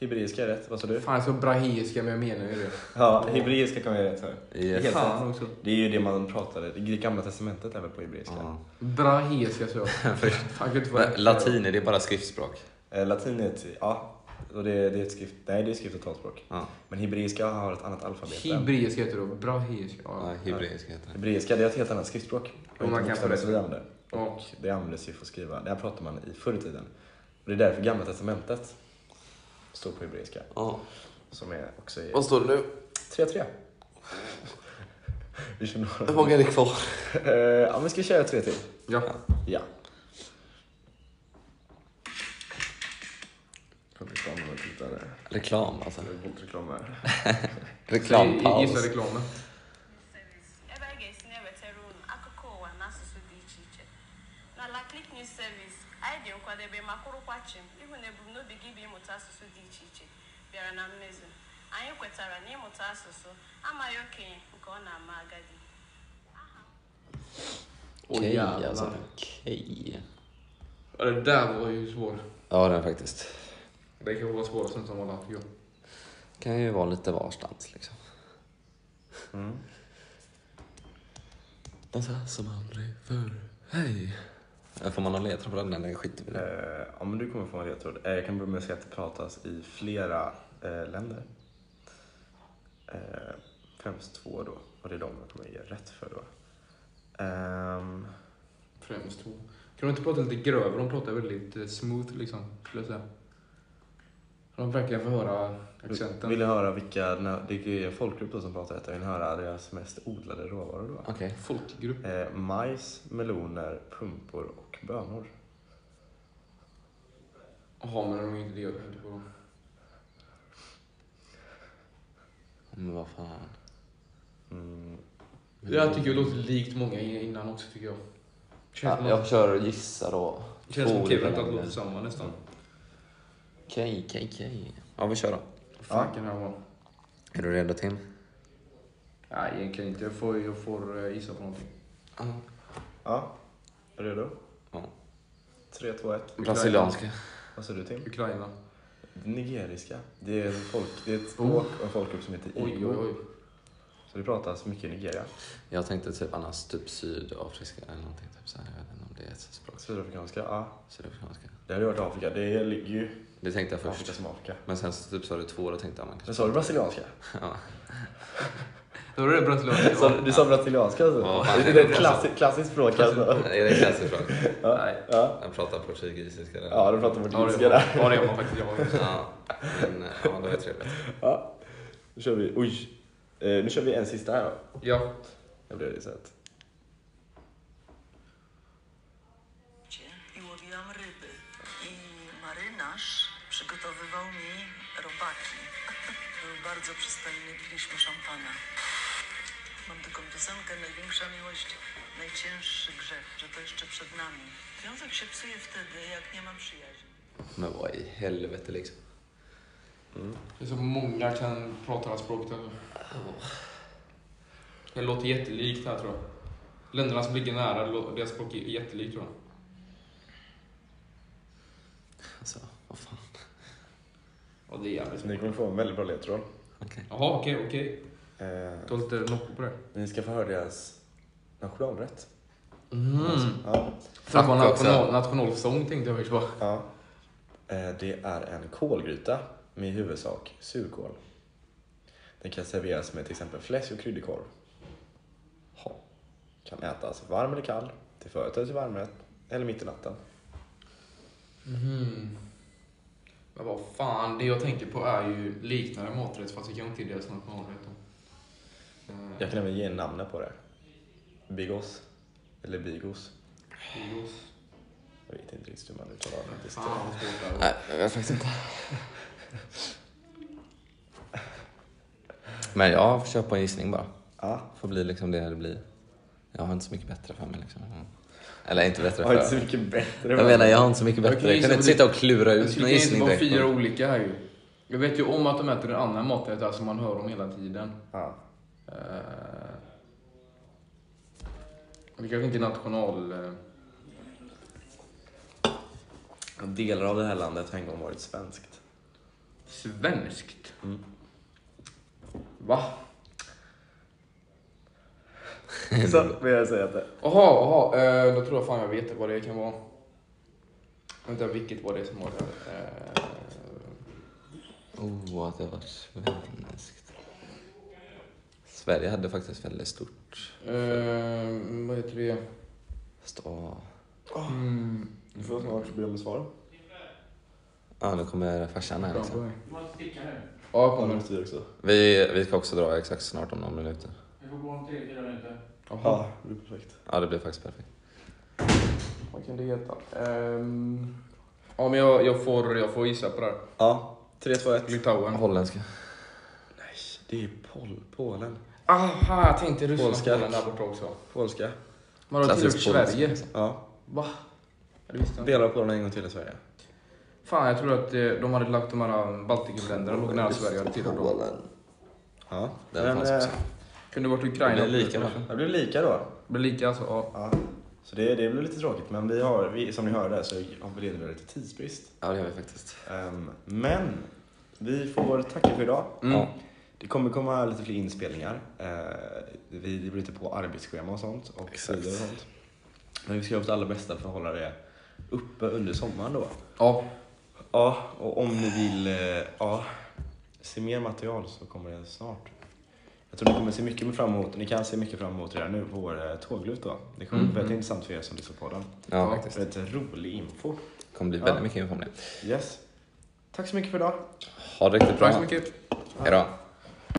S1: Hebreiska är rätt, vad sa du?
S2: Fan, jag sa brahiska, men jag menar ju det.
S1: Ja, hebreiska kommer jag rätt för.
S3: Yes.
S1: Helt
S2: Fan
S1: rätt.
S2: också.
S1: Det är ju det man pratade, det gamla testamentet är väl på hebreiska?
S3: Ja.
S2: Brahiska sa jag. Fan, jag kan inte vara
S3: Men Latin, är det bara skriftspråk?
S1: Eh, Latin är ett, ja, och det, det är ett skrift, nej det är skrift och talspråk.
S3: Ja.
S1: Men hebreiska har ett annat alfabet. än-
S2: Hebreiska heter det då. Brahiska. Ja.
S3: Ja, hebreiska heter det.
S1: Hebreiska, det är ett helt annat skriftspråk.
S2: Och man kan få
S1: det. Vi
S2: det.
S1: använder.
S2: Ja.
S1: Det användes ju för att skriva, det här pratar man i förr i tiden. Och det är därför gamla testamentet står på hebreiska.
S3: Ja.
S1: Som är också i
S3: Vad står det nu?
S1: 3-3. Vi kör några.
S3: Hur många är det kvar?
S1: Eh, Ja men ska vi köra tre till?
S2: ja.
S1: Ja. Jag har reklam här, titta där.
S3: Reklam alltså.
S1: Jag har fått reklam här.
S2: Gi-
S3: Reklampaus.
S2: Gissa reklamen.
S10: service ebe a ga-esi na-eweta unu akụkọ ụwa n'asụsụ dị iche iche na la Click News Service anyị dị nkwadebe ma kwụrụkwa chịm ịhụ na ebumnobi gị bụ ịmụta asụsụ dị iche iche bịara na mmezu anyị kwetara na ịmụta asụsụ amaghị okenye nke ọ na-ama agadi
S2: Åh
S3: Okej
S2: jävlar.
S3: alltså. Okej.
S2: Ja, det där var ju svårt.
S3: Ja, den faktiskt.
S2: Det kanske var svårast sen som alla. Ja.
S3: Kan ju vara lite varstans liksom.
S2: Mm.
S3: Dansa som aldrig förr. Hej. Eh, Får man någon ledtråd på den eller skiter vi i det?
S1: Eh, ja, men du kommer få en ledtråd. Eh, jag kan börja med att säga att det pratas i flera eh, länder. Eh, främst två då. Och det är de jag kommer ge rätt för då. Ehm,
S2: Främst två. Kan de inte prata lite grövre? De pratar väldigt eh, smooth liksom, skulle jag säga. De verkligen får höra accenten.
S1: vill ni höra vilka, nö- det är ju en folkgrupp då som pratar detta, vill ni höra deras mest odlade råvaror då?
S3: Okej.
S2: Folkgrupp.
S1: Eh, majs, meloner, pumpor och bönor.
S2: Jaha, men de är ju inte det jag tänkte på.
S3: Men vad fan.
S1: Mm,
S2: Jag tycker det låter likt många innan också tycker jag. Känns som
S3: Ja, jag kör gissa då.
S2: Känns som
S3: Två
S2: kul att
S3: olika
S2: de låter
S3: länder.
S2: samma nästan.
S3: Okej, okej, okej. Ja, vi kör då.
S2: Fan kan det här vara?
S3: Är du redo Tim?
S2: Nej, egentligen inte. Jag får, jag får eh, gissa på någonting.
S1: Ja, är du redo?
S3: Ja.
S1: 3, 2, 1.
S3: Brasilianska.
S1: Vad sa du Tim?
S2: Ukraina.
S1: Nigeriska. Det är, en folk, det är ett språk och en folkgrupp som heter
S2: Oh. Oj, oj,
S1: igbo.
S2: oj.
S1: Så det pratas mycket i Nigeria.
S3: Jag tänkte typ annars typ sydafriska eller någonting. Typ så här. Jag vet inte om det är ett språk.
S1: Sydafrikanska, ja.
S3: Sydafrikanska.
S1: Det hade ju varit Afrika. Det ligger ju
S3: Det tänkte jag
S1: Afrika
S3: först.
S1: som Afrika.
S3: Men sen så typ sa du två och då tänkte jag man
S1: Men
S3: kanske...
S1: sa du brasilianska?
S2: Då var det brasilianska.
S1: Sa- Du sa brasilianska alltså?
S3: Ja.
S1: det är ett klassiskt, klassiskt språk alltså.
S3: Är det klassiskt språk?
S1: Ja, ja.
S3: Jag pratar portugisiska där.
S1: ja de pratar
S2: Ja, det
S1: portugisiska
S2: gör man.
S1: där.
S2: Ja, det gör man faktiskt. Jag också.
S3: Ja, men eh, ja, det var ju trevligt.
S1: Ja. Nu kör vi, oj. Eh, nu kör vi en sista här då.
S2: Ja.
S1: Det blev det så att.
S8: Łowiłam ryby i marynarz przygotowywał mi robaki. Był bardzo przystojny, piliśmy szampana. Mam taką piosenkę, największa miłość, najcięższy grzech, że to jeszcze przed nami. Związek się psuje wtedy, jak nie ma przyjaźni.
S3: Men vad i helvete liksom.
S2: Det är så många kan prata det här språket. Alltså. Det låter jättelikt här tror jag. Länderna som ligger nära, det lå- deras språk är jättelikt tror jag.
S3: Alltså, vad fan.
S2: Ja, det är jävligt
S1: Ni kommer få en väldigt bra ledtråd.
S3: Okej.
S2: Jaha, okej, okej.
S1: Eh,
S2: Du har lite noppor på det.
S1: ni ska få höra deras nationalrätt.
S2: Mm.
S1: Ja.
S2: För att vara
S3: Tack också.
S2: national, nationalsång tänkte jag faktiskt bara.
S1: Ja. Eh, Det är en kolgryta med i huvudsak surkål. Den kan serveras med till exempel fläsk och kryddkorv. Ha. Kan ätas varm eller kall, till förrätt eller till varmrätt eller mitt i natten.
S2: Mhm. Men vad fan, det jag tänker på är ju liknande maträtt fast det kanske inte är deras nationalrätt. då. Eh,
S1: Jag kan även ge namnet på det. Bigos. Eller bigos.
S2: Gyros.
S1: Jag vet inte riktigt hur man uttalar det. faktiskt.
S2: Fan vad svårt det här var.
S3: Nej, jag vet faktiskt inte. Men jag kör på en gissning bara.
S1: Ja.
S3: Får bli liksom det det blir. Jag har inte så mycket bättre för mig liksom. Mm. Eller inte bättre
S1: Jag har inte så
S3: för
S1: mycket bättre.
S3: Jag menar, jag har inte så mycket
S2: Jag
S3: bättre.
S2: kan
S3: Jag
S2: gissa
S3: kunde
S2: på
S3: inte
S2: det.
S3: sitta och klura
S2: Jag
S3: ut
S2: skulle
S3: någon
S2: kunna gissa
S3: gissning
S2: på
S3: direkt.
S2: fyra
S3: men-
S2: olika här ju. Jag vet ju om att de äter en annan maträtt här som man hör om hela tiden.
S1: Ja.
S2: Eh, Det kanske inte är national... eh,
S1: Delar av det här landet har en gång varit svenskt.
S2: Svenskt. Va?
S1: Så vill jag säga att det.
S2: Jaha, jaha. eh, Då tror jag fan jag vet vad det kan vara. Vänta, vilket var det som var det? Eh,
S3: Oh, att det var svenskt. Sverige hade faktiskt väldigt stort
S2: eh, vad heter det?
S3: stå...
S2: Mm.
S1: Du får snart be om svar.
S3: Ja, nu kommer farsan här liksom.
S2: Alltså. Ja, jag
S1: Har
S2: kommer.
S1: du också?
S3: Vi, vi ska också dra exakt snart om några minuter.
S1: Ja, det blir perfekt.
S3: Ja, det blir faktiskt perfekt.
S2: Vad kan det heta? Ehm, ja, men jag, jag, får, jag får gissa på det här.
S1: Ja, 3, 2, 1.
S2: Litauen.
S3: Holländska.
S1: Nej, det är Pol Polen.
S2: Aha, jag tänkte Ryssland
S1: Polska.
S2: Polen där borta också.
S1: Polska.
S2: Man har tillhört
S3: Klassisk polsk.
S2: Sverige.
S1: Ja.
S2: Va? Ja, Det visste jag inte.
S1: Delar av Polen en gång till i Sverige.
S2: Fan, jag tror att eh, de hade lagt de här Baltikumländerna låg nära Sverige hade tillhört dem.
S1: Ja.
S3: Den
S1: Men,
S3: fanns
S1: eh,
S3: också.
S2: Kunde varit Ukraina.
S3: Det blir lika,
S2: kanske.
S3: va?
S1: det blev lika då.
S2: Det blir lika alltså. Ja.
S1: Ja. Så det, det blev lite tråkigt, men vi har, vi, som ni hörde så har vi redan lite tidsbrist.
S3: Ja, det gör vi faktiskt.
S1: Ehm, men vi får tacka för idag.
S3: Ja.
S1: Det kommer komma lite fler inspelningar. Eh, vi det beror lite på arbetsschema och sånt. Och
S3: Exakt.
S1: tider och sånt. Men vi ska göra vårt allra bästa för att hålla det uppe under sommaren då.
S2: ja.
S1: Ja, och om ni vill eh, ja, se mer material så kommer det snart. Jag tror ni kommer se mycket fram emot, ni kan se mycket fram emot redan nu, vår eh, tåglut då. Det kommer bli väldigt intressant för er som lyssnar på den.
S3: Ja, faktiskt.
S1: Väldigt rolig info.
S3: Det kommer bli väldigt mycket info om det.
S1: Yes. Tack så mycket för idag.
S3: Ha det riktigt bra.
S2: Tack så mycket.
S3: Hej då.